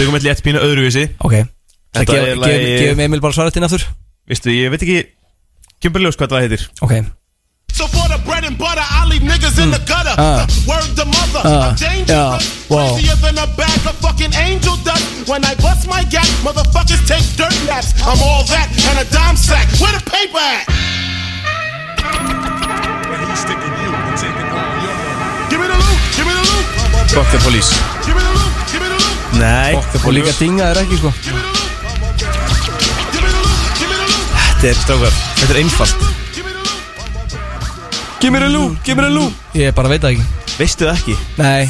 C: Tökum eitt létt pínu öðruvísi
B: Ok Það
C: Þetta
B: gef-
C: er
B: gef-
C: lagið
B: Gefum Emil bara svarað til aftur
C: Vistu, ég veit ekki Kjömbur ljós hvað það heitir
B: Ok
P: So for the bread and butter, I leave niggas in the gutter.
C: Ah.
P: Word the mother,
C: Ah.
P: I'm dangerous.
C: Yeah. Wow.
P: Crazier than a bag of fucking angel dust. When I bust my gap, motherfuckers take dirt naps. I'm all that and a dime sack. Where the paper at? Give me the loot, give me the loot.
D: Fuck the police
C: Nei
B: Og líka dinga er ekki sko
C: Þetta er strákar Þetta er einfalt
B: Give me the loot, give me the loot Ég bara veit það ekki
C: Veistu það ekki?
B: Nei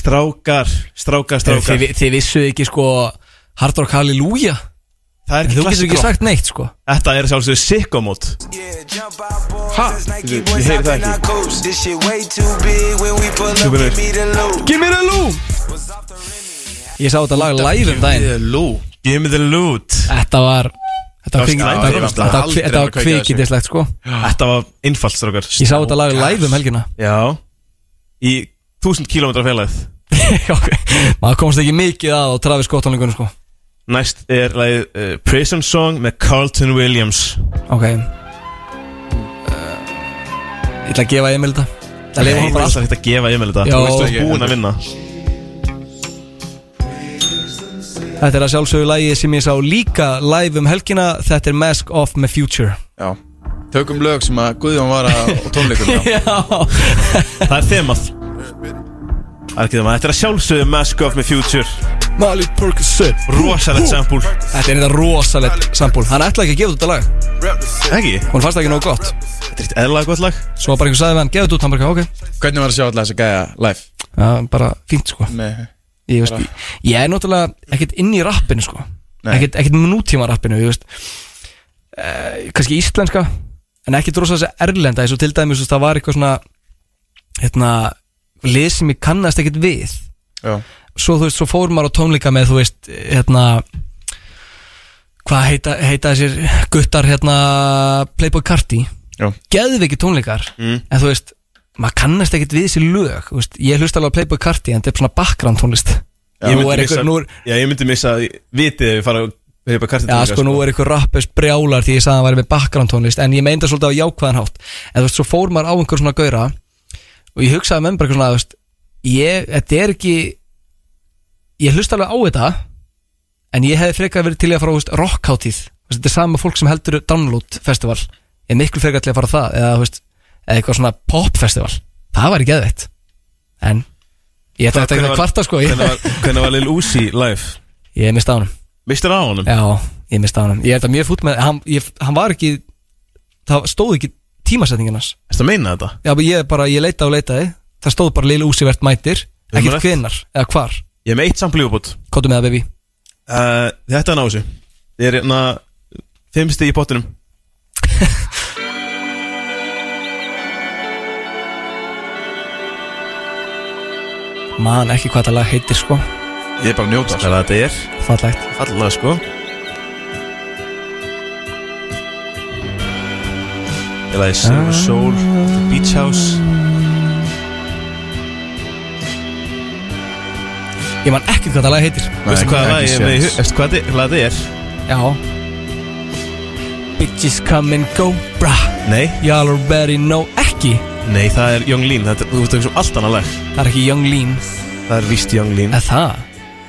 C: Strákar, strákar, strákar
B: Þið, þið vissuð ekki sko Hard Rock Hallelujah
C: Það er ekki
B: Þú getur
C: klassik
B: ekki
C: rock.
B: sagt neitt sko
C: Þetta er sjálfsögðu sikkomót
Q: Ha?
C: Ég heyri það ekki
Q: Þú
C: Tjúpinur
B: Give me the loot Ég sá þetta lag live um daginn
C: Give me the loot
B: Þetta var Þetta
C: Já,
B: var kveik-
C: slæmt.
B: þetta- þetta- þetta-
C: Aldrei
B: þetta var
C: að kveikja þessu.
B: kveikindislegt, sko.
C: Þetta var innfallt strókar
B: Ég sá þetta lag live um helgina.
C: Já Í 1000 km félagið
B: Maður komst ekki mikið að á Travis Scott tónlingunum sko
C: Næst er lagið uh, Prison Song með Carlton Williams
B: Ok uh, Ég ætla að gefa Emil þetta Það
C: Nei,
B: lefa hann
C: þú
B: bara
C: ætlar
B: allt
C: ekkert að gefa Emil þetta
B: Já.
C: Þú veist þú búin að vinna
B: Þetta er að sjálfsögðu lagi sem ég sá líka live um helgina Þetta er Mask Off með Future
D: Já Tökum lög sem að Guðjón var að á tónleikum
B: Já
C: Það er þemað Það er ekki þemað Þetta er að sjálfsögðu Mask Off með Future
B: Molly Percocet
C: Rosalegt sampúl
B: Þetta er þetta rosalegt sambúl Hann ætlaði ekki að gefa út þetta lag
C: Ekki?
B: Hún fannst það ekki nógu gott
C: Þetta er eitt eðla gott lag
B: Svo bara einhver sagði við hann, gefa þetta út, hann bara ok
D: Hvernig var að sjá alltaf þessa gæja live?
B: Já, bara fínt sko
D: Nei
B: ég, veist, ég, ég er náttúrulega ekkert inn í rappinu sko
D: Nei.
B: ekkert, ekkert nútíma rappinu ég veist uh, kannski íslenska en ekkert rosa þessi erlenda eins og til dæmis þú veist, það var eitthvað svona hérna lið sem ég kannast ekkert við
D: Já.
B: svo þú veist svo fór maður á tónleika með þú veist hérna hvað heita, heita þessir guttar hérna Playboy Carti
D: Já.
B: geðveiki tónleikar
C: Mm.
B: en þú veist maður kannast ekkert við þessi lög þú veist, ég hlusta alveg á Playboy Carti en þetta er svona bakgrann tónlist
C: Ég
B: Nú
C: myndi
B: er
C: missa-
B: einhver- nú er-
C: Já, ég myndi missa að vitið ef við fara að hripa kartið
B: Já, sko, nú er ykkur rappus brjálar því ég sagði að hann væri með background tónlist en ég meinda svolítið á jákvæðan hátt en þú veist, svo fór maður á einhver svona gaura og ég hugsaði með mér bara eitthvað svona, þú veist ég, þetta er ekki ég hlusta alveg á þetta en ég hefði frekar verið til í að fara á þú veist, rockháttíð, Þú veist, þetta er sama fólk sem heldur download festival, ég er miklu frekar til að fara á það, eða, þú veist, eða eitthvað svona pop festival, það væri geðveitt en ég ætla ekki að kvarta sko ég,
C: Hvernig var, hvernig var Lil Uzi live?
B: ég misti á honum
C: Mistur á honum?
B: Já, ég misti hann Ég er þetta mjög fútt með hann, ég, hann var ekki Það stóð ekki tímasetningarnas
C: Erstu að meina þetta?
B: Já, bara ég, bara, ég leita og leitaði Það stóð bara Lil Uzi vert mætir
C: Við erum
B: Ekkert
C: rétt.
B: hvinnar, eða hvar
C: Ég er með eitt sampli uppbútt
B: Kóttu með það, baby
C: uh, Þetta er náðu Ég er hérna Fimmsti í pottinum
B: Man, ekki hvað það lag heitir, sko
D: Ég er bara að njóta
C: Það er að þetta er
B: Fallegt
C: Fallega sko Ég lagði Silver Soul The Beach House
B: Ég man ekki hvað það lag heitir
C: Veistu hvað lag ég er með í hu- veistu hvað þi- lag þetta er?
B: Já Bitches come and go, bra
C: Nei
B: Y'all already know, ekki
C: Nei, það er Young Lean Þetta er, þú veist, það er allt annað lag
B: Það er ekki Young Lean
C: Það er víst Young Lean
B: Eða það?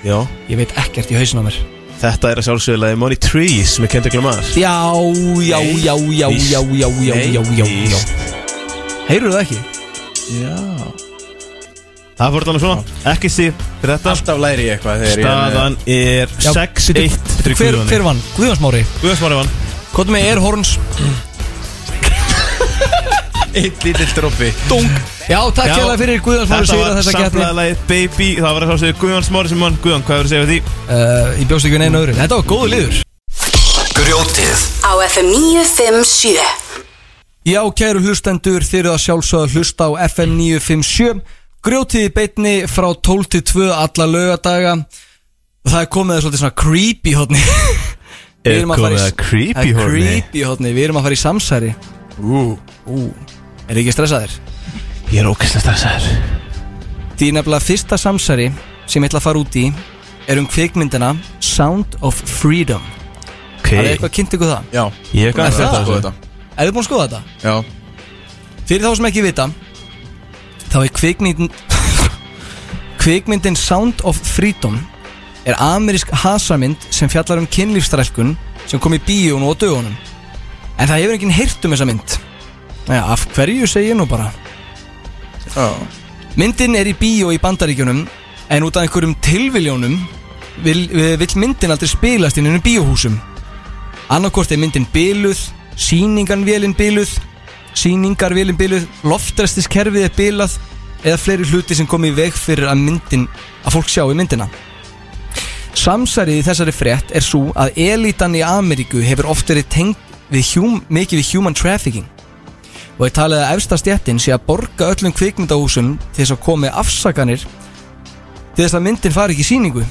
C: Já
B: Ég veit ekkert í hausinn á mér
C: Þetta er að sjálfsögðu lagi Money Trees með Kendrick Lamar
B: Já, já, já, já, já, já, já,
C: Nei,
B: já, já, já
C: víst.
B: Heyrðu það ekki?
D: Já
C: Það fór þannig svona Ekki sí fyrir þetta
D: Alltaf læri ég eitthvað þegar ég er með-
C: Staðan er
B: Já,
C: 6-1
B: bíddu, hver, hver vann? Guðjónsmári
C: Guðjónsmári vann
B: Kvotum með Airhorns
D: Eitt lítill droppi
B: Dung Já, takk hérlega fyrir Guðjónsmári Sýra
C: Þetta
B: þessa
C: var
B: keppni
C: samflaða lagið Baby Það var að sjálfsögðu Guðjóns Mári sem vann Guðjón, hvað hefur að segja við því?
B: Uh, ég bjóst ekki við neina öðru Þetta var góðu liður
I: Grjótið
A: Á FM 957
B: Já, kæru hlustendur, þeir eru að sjálfsögða að hlusta á FM 957 Grjótið í beinni frá 12 til 2 alla lögadaga Það er komið að svolítið svona creepy hotni
C: Er komið að creepy horni?
B: Creepy hotni, við erum að fara í samsæri Ú, ú Er ekki stressaðir?
C: Ég er ókvæmst stressaður
B: Því nefnilega fyrsta samsæri sem ég ætla að fara út í er um kvikmyndina Sound of Freedom
C: Ok.
B: Það er eitthvað kynnt ykkur það?
D: Já,
C: Ég er gaman að
B: Er það?
C: skoða
D: þetta.
B: Er þið búin að skoða þetta?
D: Já
B: Fyrir þá sem ekki vita Þá er kvikmyndin Kvikmyndin Sound of Freedom Er amerísk hasarmynd sem fjallar um kynlífstrælkun sem kom í bíón og á dögunum En það hefur enginn heyrt um þessa mynd Næja, af hverju segi ég nú bara
D: Já
B: Myndin er í bíó í bandaríkjunum en út af einhverjum tilviljónum vil, vil myndin aldrei spilast inn innum bíóhúsum. Annarkort er myndin biluð, síninganvélin biluð, síningarvélin biluð, loftrestiskerfið er bilað eða fleiri hluti sem kom í veg fyrir að myndin, að fólk sjá í myndina. Samsærið í þessari frétt er svo að elitan í Ameríku hefur oft verið tengd við hjúm, mikið við human trafficking og ég talaði að efsta stjettin sé að borga öllum kvikmyndahúsum til þess að komi afsakanir til þess að myndin fari ekki í síningu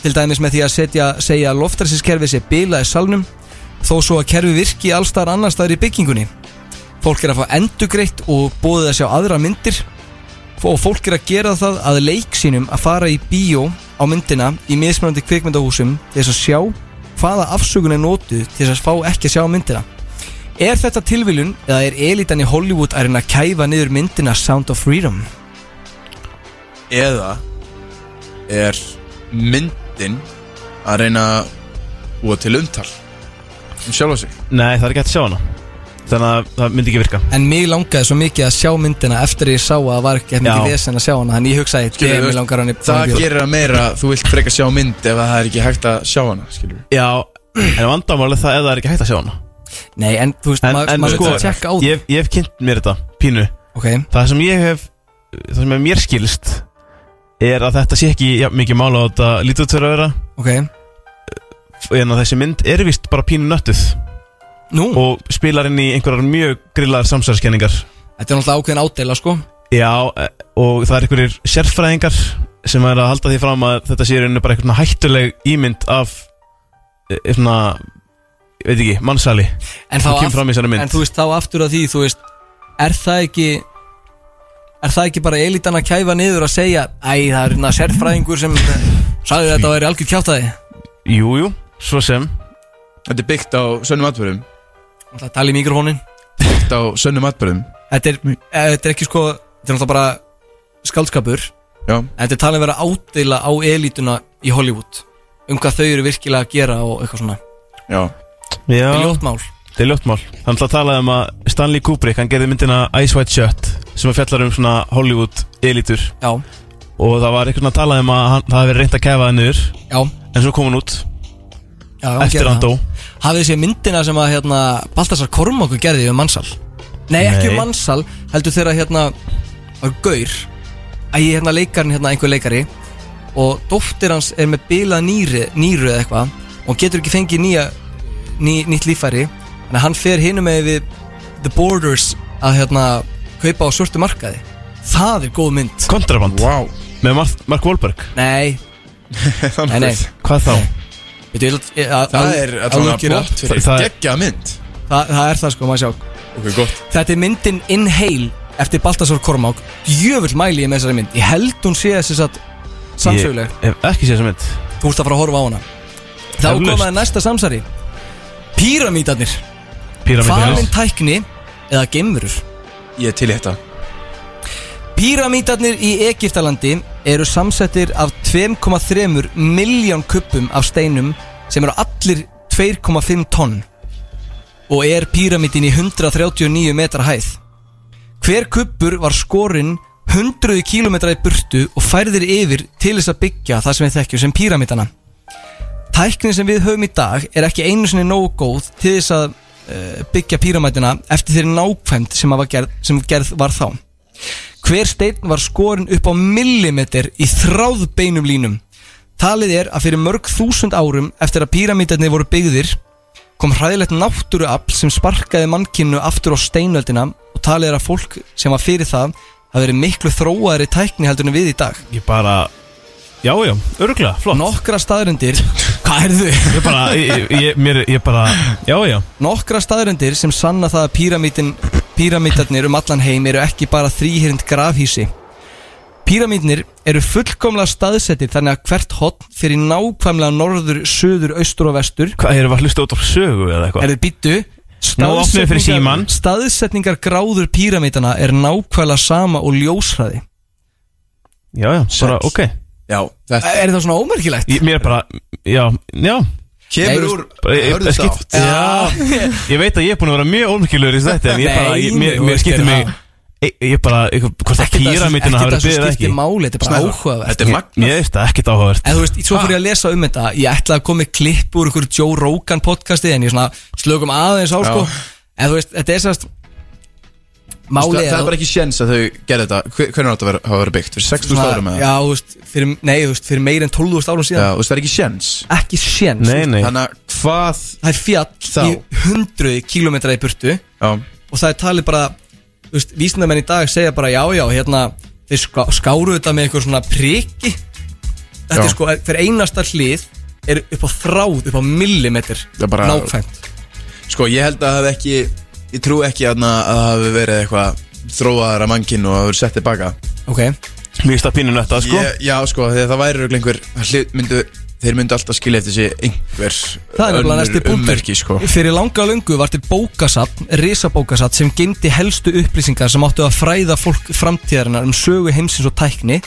B: til dæmis með því að setja, segja að loftræsinskerfið sé bilað í salnum þó svo að kerfi virki allstar annar staðar í byggingunni. Fólk er að fá endugreitt og bóðið að sjá aðra myndir og fólk er að gera það að leik sínum að fara í bíó á myndina í mismunandi kvikmyndahúsum til þess að sjá hvaða afsökun er notuð til þess að fá ekki að sjá myndina. Er þetta tilviljun eða er elitan í Hollywood að reyna að kæfa niður myndina Sound of Freedom?
D: Eða er myndin að reyna að búa til umtal um sjálfa sig
C: Nei, það er ekki hægt að sjá hana Þannig að það myndi ekki virka
B: En mig langaði svo mikið að sjá myndina eftir ég sá að það var ekki mikið
D: Já.
B: vesen að sjá hana Þannig ég hugsaði,
D: Skilur,
B: "Damn,
D: þú
B: mig
D: veist,
B: langar hann í
D: Það gerir það meira Þú vilt frekar sjá mynd ef það er ekki hægt að sjá hana skilur.
C: Já, en vandamálið það er það er ekki hægt að sjá hana
B: Nei, en þú veist, maður- maður
C: sko,
B: verður að tjekka á því.
C: Ég, ég hef kynnt mér þetta, pínu
B: okay.
C: Það sem ég hef, það sem er mér skilst Er að þetta sé ekki ja, mikið mála á þetta lítið tverra að vera
B: Ok.
C: En að þessi mynd er vist bara pínu nöttuð
B: Nú
C: Og spilar inn í einhverjar mjög grillaðar samsæðiskenningar
B: Þetta er náttúrulega ákveðin ádela, sko
C: Já, eh, og það er einhverjir sérfræðingar sem er að halda því fram að þetta sé í rauninu bara einhvern hættuleg ímynd af eh, svona, ég veit ekki, mannsali
B: en, þá
C: sem kemur
B: aft-
C: fram í þessari
B: en
C: mynd
B: þú veist, þá aftur að því, þú veist Er það ekki Er það ekki bara elitan að kæfa niður að segja Æ, það er hérna sérfræðingur sem Sagði þetta væri algjör kjátaði
C: Jú, jú, svo sem
D: Þetta er byggt á sönnum atbyrðum
B: Það tala í mikrofónin
D: Byggt á sönnum atbyrðum
B: Þetta er, eh, þetta er ekki sko Þetta er náttúrulega bara skaldskapur
D: Já.
B: Þetta er talað að vera ádela á elituna í Hollywood Um hvað þau eru virkilega að gera og eitthvað svona
D: Já,
C: Já.
B: Þetta er ljótt mál.
C: Þetta er ljótmál Hann ætla að talaði um að Stanley Kubrick, hann gerði myndina Ice White Shut sem að fjallar um svona Hollywood elitur
B: Já
C: Og það var einhvern að talaði um að hann, það hafi verið reynd að kefa það niður
B: Já
C: En svo kom hann út
B: Já, já,
C: Eftir
B: gerði
C: hann
B: það.
C: dó.
B: Hafið þessi myndina sem að hérna, Baltasar Kormákur gerði um mannsal Nei, ekki
C: Nei.
B: um mannsal Heldur þegar hérna var Gaur Æ, hérna leikarinn, hérna einhver leikari Og dóttir hans er með bilað nýri, nýru eða eitthvað Og hann getur ekki fengið nýja ný, Nýtt líffæri Þannig að hann fer hinum með við The Borders að hérna Kaupa á svörtu markaði Það er góð mynd
C: Kontraband
D: wow.
C: Með Mark, Mark Wahlberg
B: Nei Nei, nei
C: Hvað þá?
B: Veitu, ég, ég, a,
D: Það er allavega plott fyrir geggja mynd
B: Þa, Það er það sko, maður sjá
D: Ok, gott
B: Þetta er myndin Inhale eftir Baltasar Kormák Jöfull mæli ég með þessari mynd Ég held hún sé þess að samsöguleg
C: Ég hef ekki séð þessa mynd
B: Þú ert að fara að horfa á hana Þá
C: Eflaust.
B: komaði næsta samsari Píramítarnir
C: Píramídarnir.
B: Falin tækni eða geimurur
D: Ég er til í þetta
B: Píramítarnir í Egiptalandi eru samsettir af 2,3 miljón kuppum af steinum sem eru allir 2,5 tonn og er píramítin í 139 metra hæð. Hver kuppur var skorinn 100 km í burtu og færðir yfir til þess að byggja það sem við þekkjum sem píramítana. Tæknin sem við höfum í dag er ekki einu sinni nógu góð til þess að uh, byggja píramætina eftir þeirri nákvæmt sem, að var gerð, sem gerð var þá. Hver steinn var skorin upp á millimeter í þráðbeinum línum. Talið er að fyrir mörg þúsund árum eftir að píramítarnir voru byggðir kom hræðilegt náttúruafl sem sparkaði mannkinnu aftur á steinöldina og talið er að fólk sem var fyrir það hafi verið miklu þróaðri tækni heldur en við í dag.
C: Ég bara Já, já, örgulega, flott
B: Nokkra staðrindir Hvað er þau?
C: Ég bara, ég, ég, mér, ég bara Já, já
B: Nokkra staðrendir sem sanna það að píramítin, píramítarnir um allan heim eru ekki bara þrýhyrnd grafhísi. Píramítarnir eru fullkomlega staðsettir þannig að hvert hotn fyrir nákvæmlega norður, söður, austur og vestur.
C: Hvað eru að hlusta út á sögu eða eitthvað?
B: Er þið býttu?
C: Nú opnum við fyrir símann.
B: staðsetningar gráður píramítana er nákvæmlega sama og ljósraði.
C: Já, já, bara, ok
D: Já, þetta
B: Er það svona ómerkilegt?
C: ég, Mér bara, já, já
B: Kemur úr
C: Bara,
D: eh,
C: ég-
B: hörðu
C: það skipt-
B: þátt.
C: Já, ég veit að ég er búin að vera mjög ómikilur í þetta En ég bara, ég,
B: Nei,
C: mér,
B: nei,
C: mér
B: þú
C: skiptir
B: ert
C: mig Ég, ég bara, eitthvað- hvort að
B: Ekkert að-
C: píramítina hafa verið
B: ekkert að þessu
C: byggð eða
B: skiptir
C: ekki
B: máli, þetta er bara
C: Snævar,
B: áhugavert.
C: Þetta er magnað Ég veist það, ekkert áhugavert
B: En þú veist, svo fyrir ég að lesa um þetta Ég ætlaði að koma með klipp úr ykkur Joe Rogan podcasti En ég svona slökum aðeins á
D: Já.
B: sko En þú veist, þetta er sérst Máli
D: Það það er bara ekki séns að þau gerði þetta Hve- Hvernig átt að vera- hafa verið byggt? Fyrir 6.000 árum eða?
B: Já, þú veist, fyrir, nei, þú veist, fyrir meir en 12.000 árum
D: Já,
B: síðan
D: þú veist, það er ekki séns
B: Ekki séns þú veist.
D: Þannig að hvað
B: Það er fjall
D: Þá.
B: í 100 kilometra í burtu
D: Já.
B: Og það er talið bara þú veist, Vísindamenn í dag segja bara já, já Hérna, þeir ská, skáru þetta með einhver svona priki Þetta
D: Já.
B: er sko, hver einasta hlið Er upp á þráð, upp á millimetr
D: Það er bara
B: Nákvæmt
D: Sko, ég held að það hef ekki Ég trú ekki þarna að það hafi verið eitthvað Þróaðara mannkinn og hafi verið sett tilbaka
B: Ok
C: Mjög stað pínu nötta, sko
D: ég, Já, sko, þegar það væri örugglega einhver það hli- myndu, Þeir myndu alltaf skilja eftir sig einhver
B: Það er nefnilega
D: önnur
B: næsti punktur
D: ummerki, sko.
B: Fyrir langa löngu var til bókasatn, risabókasatn sem gemdi helstu upplýsingar sem áttu að fræða fólk framtíðarinnar um sögu heimsins og tækni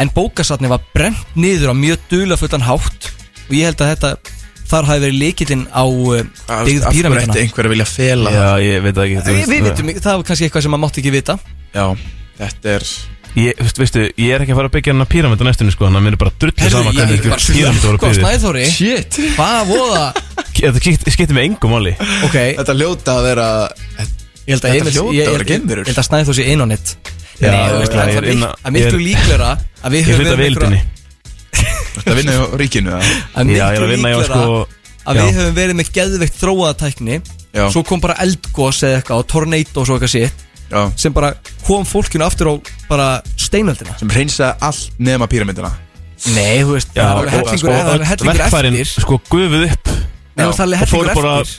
B: en bókasatni var brent niður á mjög dulafullan hátt og ég held að þetta þar hafi verið leikillinn á uh, byggð
D: af hverju
B: píramidana
D: ætti einhver að vilja fela
C: Já,
D: það?
C: ég veit það ekki þú
B: Við,
C: veist,
B: við
C: það-
B: vitum, það var kannski eitthvað sem maður mátti ekki vita
D: Já, þetta er
C: Ég, veist, veistu, ég er ekki að fara að byggja hennar píramönda næstunni sko, þannig að mér er bara drullið sama
B: ég
C: hvernig
B: er bara
C: ykkur píramönda voru
B: slökku á
C: byggðið.
B: Snæþóri
D: Shit
B: Hvað voða
C: Þetta skiptir skiptir mig engum máli.
B: Ok
D: Þetta hljóta að vera
B: Ég held að
D: Þetta
B: Emil- ég-
D: hljóta að
B: ég-
D: vera geimverur.
B: Ég held að Snæþór sé inn á nett
D: Já,
B: Nei, þú veist, það
D: já, ég
B: er
D: er inn
B: mik-
D: á-
B: það er miklu
D: ég er-
B: líklegra að við
D: Ég
B: höfum
D: hluta
B: verið með
D: vildinni.
B: einhverja-
D: Þetta vinna hjá ríkinu eða?
B: að
D: Já, ég er
B: miklu
D: að vinna hjá,
B: líklegra
D: sko,
B: að
D: já.
B: við höfum verið með geðveikt þróaða tækni
D: Já.
B: svo kom bara eldgós eða eitthvað og tornado og svo eitthvað sitt
D: já.
B: sem bara kom fólkinu aftur á bara steinöldina
D: sem reynsaði allt nema píramindina
B: Nei, þú veist,
C: Já,
B: það var
C: og sko,
B: hellingur það var
C: öll
B: hellingur
C: verkfærin
B: eftir
C: sko gufuð upp
B: Nei, þú
C: og
B: veist, það er hellingur
C: fóru bara
B: eftir.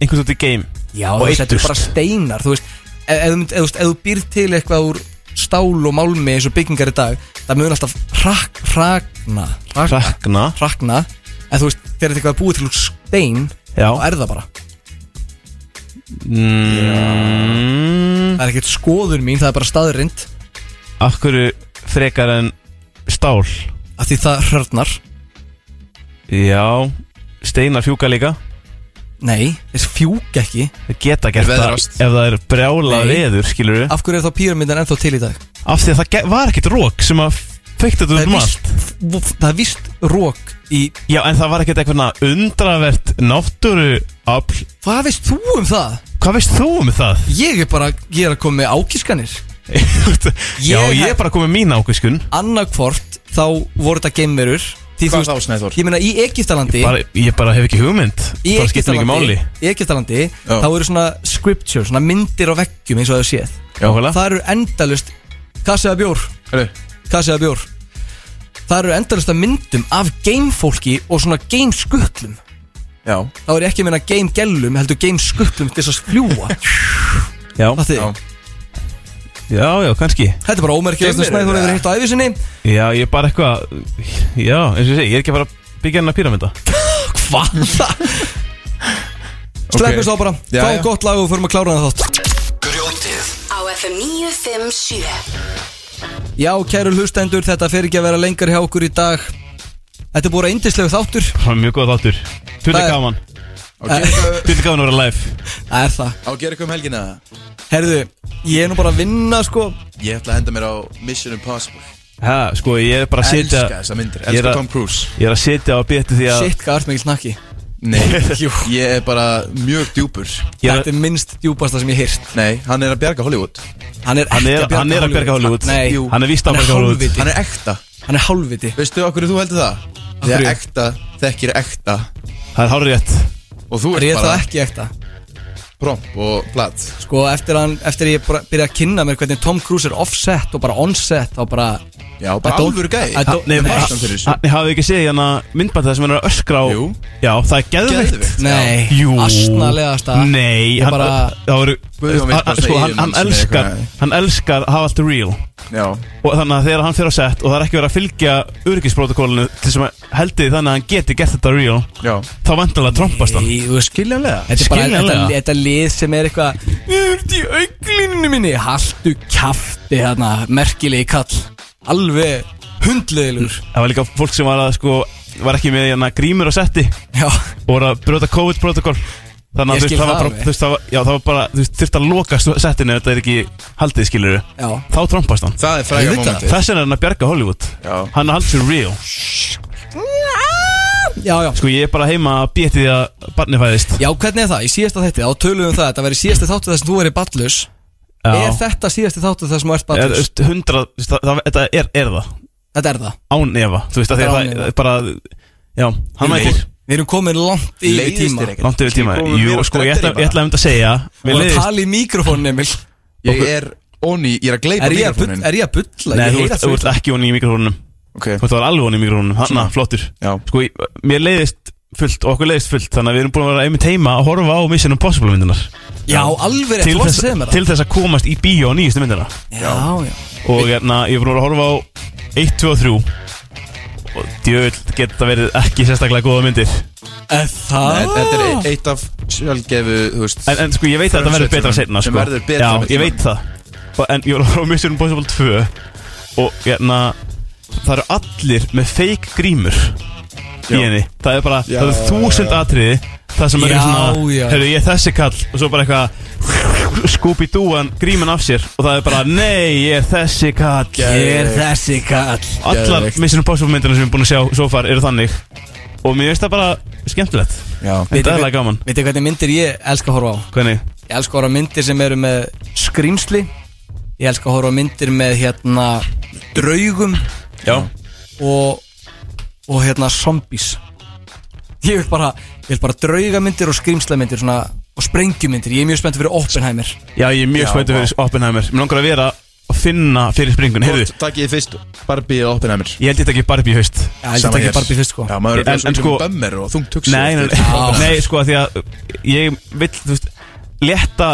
C: einhvern veit í game
B: Já,
C: og
B: þú veist, þetta er bara
C: eittust.
B: steinar Þú veist, ef, ef, ef, ef, ef þú býr til eitthvað úr stál og málmi eins og byggingar í dag það mun alltaf hrak, hrakna
C: Hrakna
B: Hrakna En þú veist, þegar þetta eitthvað er búið til úr stein
C: Já.
B: þá er það bara
C: Mm,
B: Það er ekkert skoður mín, það er bara staðrind
C: Af hverju frekar en stál?
B: Af því það hörnar
C: Já, steinar fjúka líka
B: Nei, þess fjúk ekki
C: Það geta gert það ef
B: Veðrast.
C: það er brjála
B: Nei.
C: veður, skilur við
B: Af hverju er þá píramindin ennþá til í dag?
C: Af því að það ge- var ekkert rók sem að feikta þetta um
B: Það er
C: allt
B: víst, það er víst rók í
C: Já, en það var ekkert eitthvað undravert náttúru afl
B: Hvað veist þú um það?
C: Hvað veist þú um það?
B: Ég er bara, ég er að koma með ákískanir
C: Já, ég er bara komið mín ákvöskun
B: Annarkvort þá voru þetta geimverur Því
D: Hvað þá, Snæþór?
B: Ég meina í Egiptalandi
C: bara, Ég bara hef ekki hugmynd
B: Í
C: Það skiptir mikið máli
B: Egiptalandi, í Egiptalandi þá eru svona scripture, svona myndir á veggjum eins og það séð
C: Nákvæmlega.
B: Það eru endalust Kassiða bjór Kassiða bjór Það eru endalust að myndum af gamefólki og svona gameskutlum
D: Já
B: Þá er ég ekki að minna gamegellum heldur gameskutlum til þess að fljúa
C: Já
B: Það þið
C: Já, já, kannski
B: Þetta er bara ómerkilegast að
C: Geimverur,
B: snæður hefur
C: eða?
B: hitt á æfisinni
C: Já, ég er bara eitthvað Já, eins og ég segi, ég er ekki að fara að byggja hennar píramynda
B: Hvað? Sleppum þá bara,
C: Já, já.
B: fáum gott lag og förum að klára það þátt
A: Á FM 957
B: Já, kæru hlustendur, þetta fer ekki að vera lengar hjá okkur í dag Þetta er búið að indislegu þáttur
C: Það er mjög góð þáttur Tulli
B: Það er-
C: gaman
B: Það
C: Tulli gaman að vera live
B: er það
D: Á að gera eitthvað um helgina
B: Herðu, ég er nú bara að vinna, sko
D: Ég ætla að henda mér á Mission Impossible
C: Ha, sko, ég er bara að
D: Elska
C: setja
D: þessar myndir,
C: uh, Ég er
D: elska
C: að-
D: Tom Cruise.
C: Ég er að setja á beti því að
B: Shit, hvað ert mikið snakki
D: Nei, ég er bara mjög djúpur
B: Þetta er minnst djúpasta sem ég hýrt
D: Nei, hann er að bjarga Hollywood
B: Hann er,
C: Hann
B: ekki
C: er-
B: að bjarga
C: hann er að bjarga Hollywood.
B: Nei,
C: Jú. Hann er víst að bjarga Hollywood.
B: hálfviti.
D: Hann er ekta
B: Hann er hálfviti
D: Veistu okkur þú heldur það?
B: hverju?
D: Þegar ekta þekkir ekta
C: Það er hálfur rétt
D: Og þú
B: Er
D: ert
B: ég
D: bara
B: það ekki ekta?
D: promp og platt
B: Sko, eftir að hann- eftir að ég bara byrja að kynna mér hvernig Tom Cruise er offset og bara onset og bara
D: Já,
B: I
D: bara
B: don't-
D: alvöru gæi
B: I don't-
D: Nei,
B: Nei.
D: fastan fyrir þessu.
C: Þannig hafið þið ekki segið hérna myndbænt það sem hann er að öskra á Jú Já, það er geðveikt
D: Geðveikt,
B: Nei,
C: Jú
B: asnalegasta
C: Nei,
B: Ég
C: hann,
B: bara,
C: það voru
D: Guðjón vill bara
C: hann- Sko,
D: segja
C: hann, hann
D: mann sem er
C: elskar
D: eitthvað-
C: Hann elskar að hafa allt real
D: Já
C: Og þannig að þegar hann fyrir á sett Og það er ekki verið að fylgja öryggisprotokólinu Til sem að heldur því þannig að hann geti gert þetta real
D: Já
C: Þá vandalega trompast hann
B: Nei, þú veist,
D: Skiljanlega
B: Þetta er bara þetta,
C: Skiljanlega.
B: þetta lið sem er eitthvað Við erum í auglinu minni Haltu kjafti þarna Merkilegi kall Alveg hundleðilur
C: Það var líka fólk sem var að sko Var ekki með hérna grímur á setti
B: Já,
C: Og voru að brjóta COVID-protokól Þannig að
B: Ég
C: þú veist,
B: skil
C: það var
B: það
C: bara,
B: alveg.
C: þú veist, það var, já, það var bara, þú veist, þurft að loka settinu ef þetta er ekki haldið, skilur
B: já
C: Þá trompast hann
D: Það er fræga
B: Auðvitað.
D: momentið
C: Þess vegna er hann að bjarga Hollywood
D: Já.
C: Hann er haldur real
B: Já, já
C: Sko ég er bara heima að býja því að barni fæðist
B: Já, hvernig er það? Í síðasta þætti Þá tölum við um það Þetta verið síðasti þáttu þar sem þú verið ballus
C: Já.
B: Er þetta síðasti þáttu þar sem þú ert
C: Eða, þú
B: ballus?
C: veist, Hundrað, þú veist, það- það- þetta er, er það
B: Þetta er það
C: Án efa, þú veist að þegar
B: Þetta er án
C: það
B: efa.
C: er bara Já, hann mætir
B: Við erum komin langt yfir
D: Leiðist
B: tíma
D: þér ekkert?
C: Langt yfir tíma
D: Komum við
C: Jú,
D: á
C: sko ég ætla,
D: strætið bara?
C: ég ætla um þetta að segja
B: Við
C: Við
B: erum að
C: leiðist
B: tala í mikrofón, Emil
D: Ég er onni, ég er að gleypa
B: Er ég að bull-
D: mikrofonin
B: er ég að bulla?
C: Nei,
B: Ég
C: þú
B: heyra
C: ert-
B: svo
C: þú ert
B: illa.
C: ekki honi í mikrofónunum
D: Ok
C: Þú ert að vera alveg honi í mikrofónunum Hanna, flottur
D: Já
C: Sko, ég- mér leiðist fullt og okkur leiðist fullt þannig að við erum búin að vera einmitt heima að horfa á Mission Impossible myndunar
B: Já, alveg rétt,
C: til,
B: þú varst að
C: þess-
B: segja mér það.
C: til þess að komast í bíó á nýjustu myndina
B: Já, já
C: og hérna, ég er búin að vera að horfa á 1, 2 og 3 og djöfull geta verið ekki sérstaklega góða myndir
B: Það
D: Nei, Þetta er
B: Ah.
D: eitt af sjálfgefu þú veist,
C: en, en sko ég veit að þetta verður betra
D: frumsögnum
C: setna sko.
D: sem verður betra
C: Já, ég veit það Ba- En ég var að horfa á Mission Impossible 2 Og hérna Það eru allir með fake grímur Í
D: Já.
C: henni Það er bara, það
D: Já, já,
C: eru þúsund
D: já.
C: atriði Það sem er
D: Já,
C: svona,
D: já.
C: heyrðu ég er þessi kall Og svo bara eitthvað Scooby-Dooan gríman af sér Og það er bara, nei, ég er þessi kall
B: Ég er þessi kall
C: Allar
B: Geðveikt.
C: Mission Impossible myndina sem við erum búin að sjá Svo far eru þannig Og mér finnst það bara skemmtilegt
D: Já,
C: Þetta er alveg gaman
B: Veitir hvernig myndir ég elska að horfa á?
C: Hvernig?
B: Ég elska að horfa á myndir sem eru með skrýmsli Ég elska að horfa á myndir með hérna draugum
C: Já
B: Og, og hérna zombies Ég vil bara, ég vil bara draugamyndir og skrýmslamyndir svona, og sprengjumyndir Ég er mjög spennt fyrir Oppenheimer
C: Já, ég er mjög
B: Já,
C: spöntið
B: vá.
C: fyrir Oppenheimer Mér langar að vera að finna fyrir springun Heyrðu,
D: Takk ég fyrst Barbie og Oppenheimer
C: ég held ég ekki Barbie í haust
D: Já, ég Sama taki hér. Barbie fyrst, sko. Já, maður er
C: En-
D: svo
C: en
D: mikið
C: sko-
D: með bömmer og þungt hugsi
C: Nei, nei,
D: eftir. Já.
C: nei, sko, af því að ég vill, þú veist, létta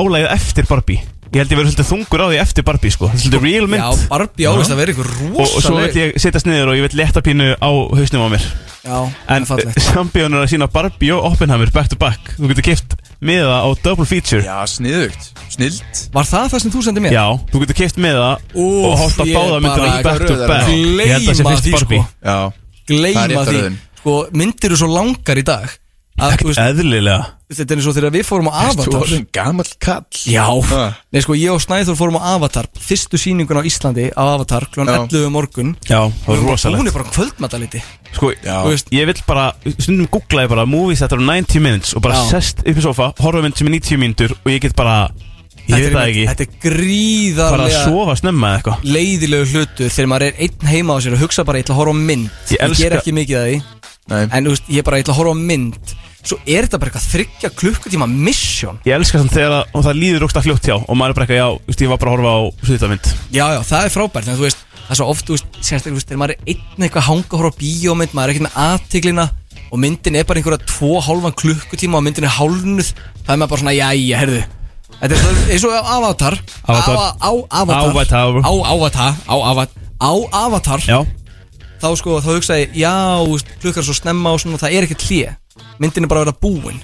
C: álægið eftir Barbie Ég held ég verið svolítið þungur á því eftir Barbie, sko Svolítið real mynd
B: Já, Barbie ávist að vera ykkur
C: Og, og svo vill
B: rosaleg
C: ég setjast niður og ég vill létta pínu á hausnum á mér
B: Já,
C: En sambíðan er að sína Barbie og Oppenheimer back to back Þú getur kipt miða á double feature
D: Já, sniðugt, snilt
B: Var það það sem þú sendið mér?
C: Já, þú getur kipt með það
B: Úff,
C: og horta
B: ég
C: báða
B: bara-
C: myndina í back to
B: Röðar.
C: back Ég held að það sé
B: Gleyma
C: fyrst
B: því,
C: Barbie
B: sko. Gleima því Sko, myndir eru svo langar í dag að, þú veist,
C: Eðlilega
B: Þetta er eins og þegar við fórum á
D: Ertu
B: Avatar
D: orðinn gamall kall
B: Já Nei sko ég og Snæður fórum á Avatar Fyrstu sýningun á Íslandi á Avatar Klón
C: Já.
B: 11 um morgun
C: Já, það var rosalegt.
B: Hún er bara kvöldmataliti
C: Sko, þú veist, ég vill bara, stundum googlaði bara movies þetta eru 90 minutes og bara
B: Já.
C: sest upp í sofa, horfa á mynd sem er 90 mínútur og ég get bara, ég veit það ekki
B: Þetta
C: bara
B: er
C: að
B: gríðarlega
C: sofa snemma eða eitthvað
B: leiðilegu hlutu Þegar maður er einn heima á sér og hugsa bara Ég ætla að horfa á mynd
C: Ég elska-
B: ger ekki mikið að því Nei. En þú veist, ég bara ég ætla að horfa á mynd Svo er þetta bara eitthvað þryggja klukkutíma mission
C: Ég elska samt þegar að, og það líður ógsta fljótt hjá og maður er bara eitthvað, já, þú veist, ég var bara að horfa á stuðmynd
B: Já, já, það er frábært, en þú veist, það er svo oft, þú veist, sérstaklega, þú veist, þegar maður er einn eitthvað að hanga og horfa á bíómynd, maður er ekkert með aðtiklina og myndin er bara einhverja tvo hálfan klukkutíma og myndin er hálfnuð, það er maður bara svona, jæja, herðu, þetta er svona eins og á Avatar,
C: Avatar.
B: á, á Avatar,
C: Avatar.
B: á Avatar, á Avatar, á Avatar,
C: já.
B: þá sko, þá hugsaði, ég, já, þú veist, klukkar svo snemma og svona, það er ekkert hlje, myndin er bara að vera búin,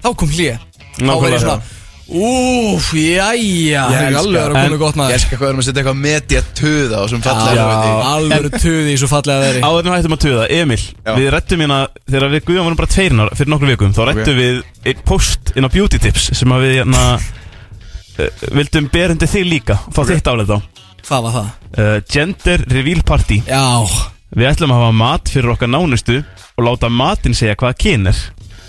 B: þá kom hlje, þá var
D: Nákvæmlega.
B: ég svona, Úf, jæja, það er alveg að vera komið gott maður
D: Ég elskar hvað við erum að setja eitthvað media töða á sem
B: um
D: fallega
C: Já,
B: alveg töði í svo fallega veri
C: Áður en við hættum að tuða, Emil Við rettum hérna, þegar við Guðjón varum bara tveirinnar fyrir nokkur vikum Þá rettum við einn post inn á Beauty Tips Sem að við hérna uh, Vildum berendi þig líka Fá þitt álega þá
B: Hvað var það?
C: uh, Gender Reveal Party
B: Já
C: Við ætlum að hafa mat fyrir okkar nánustu Og láta matinn segja hvaða kyn er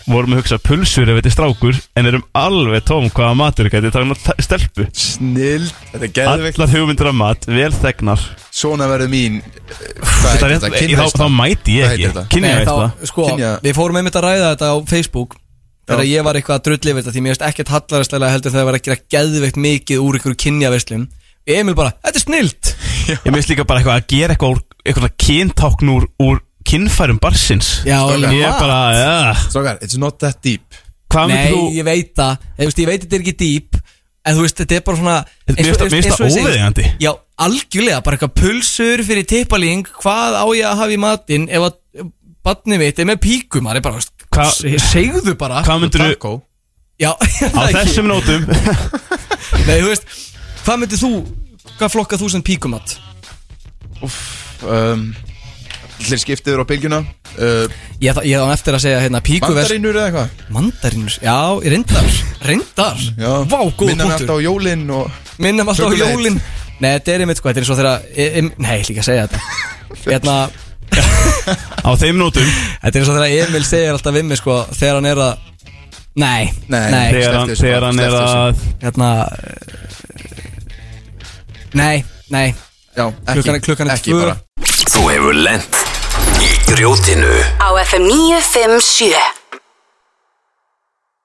C: Vorum að hugsa pulsur ef þetta er strákur En erum alveg tóm hvaða matur Þetta er takin á stelpu
D: Snill, þetta er geðveikt.
C: Allar hugmyndir af mat, vel þegnar
D: Svona verður mín eh,
C: Þetta er- þá- þá mæti ég ekki.
B: Nei, þá, sko, við fórum einmitt að ræða þetta á Facebook þegar ég var eitthvað að drulli yfir þetta því mér veist ekkert hallarastlega heldur þegar það var að gera geðveikt mikið úr ykkur kynjaverslum Emil bara, þetta er snilt
C: Ég minnst líka bara eitthvað að gera eitthvað úr eitthvað kyntákn úr, úr kynfærum barsins
B: alveg
C: Ég er
B: mat.
C: bara, ja
D: Strákar, it's not that deep
C: Hvað
B: Nei,
C: myndir þú
B: ég veit það, ég, veist, ég veit þetta er ekki dýp En þú veist, þetta er bara svona
C: Mér
B: eins og-
C: finnst það- mér
B: eins
C: finnst
B: og
C: það
B: ég segi-
C: óviðeigandi.
B: Já, algjörlega, bara eitthvað pulsur fyrir tippaling Hvað á ég að hafa í matinn ef að Batni mitt er með píkum, það er bara veist,
C: Hva-
B: se- Segðu bara
C: Hvað myndirðu-
B: Taco. Já,
C: Á þessum nótum
B: Nei, þú veist, hvað myndir þú Hvað flokka þú sem píkumat?
D: um, Allir skiptiður á bylgjuna uh,
B: Ég þá ég á eftir að segja hérna píku
D: Mandarínur eða eitthvað?
B: Mandarínur, já, reyndar Reyndar,
D: Já.
B: vá, góð
D: Minna mig alltaf á jólin og
B: Minnum alltaf á
D: Chocolate.
B: jólin Nei, þetta er einmitt sko, þetta er eins og þegar e- em- Nei, ég ætla ekki að segja þetta Hérna,
C: á þeim nótum
B: þetta er eins og þegar Emil segir alltaf við mig sko Þegar hann er að Nei,
D: Nei,
C: þegar hann-
B: sko.
C: þegar hann er að
B: Hérna eh, Nei, nei
D: Já,
B: ekki Klukkan er, klukkan er
I: Ekki
B: tvö
I: bara. Þú hefur lent í grjótinu
A: Á FM 957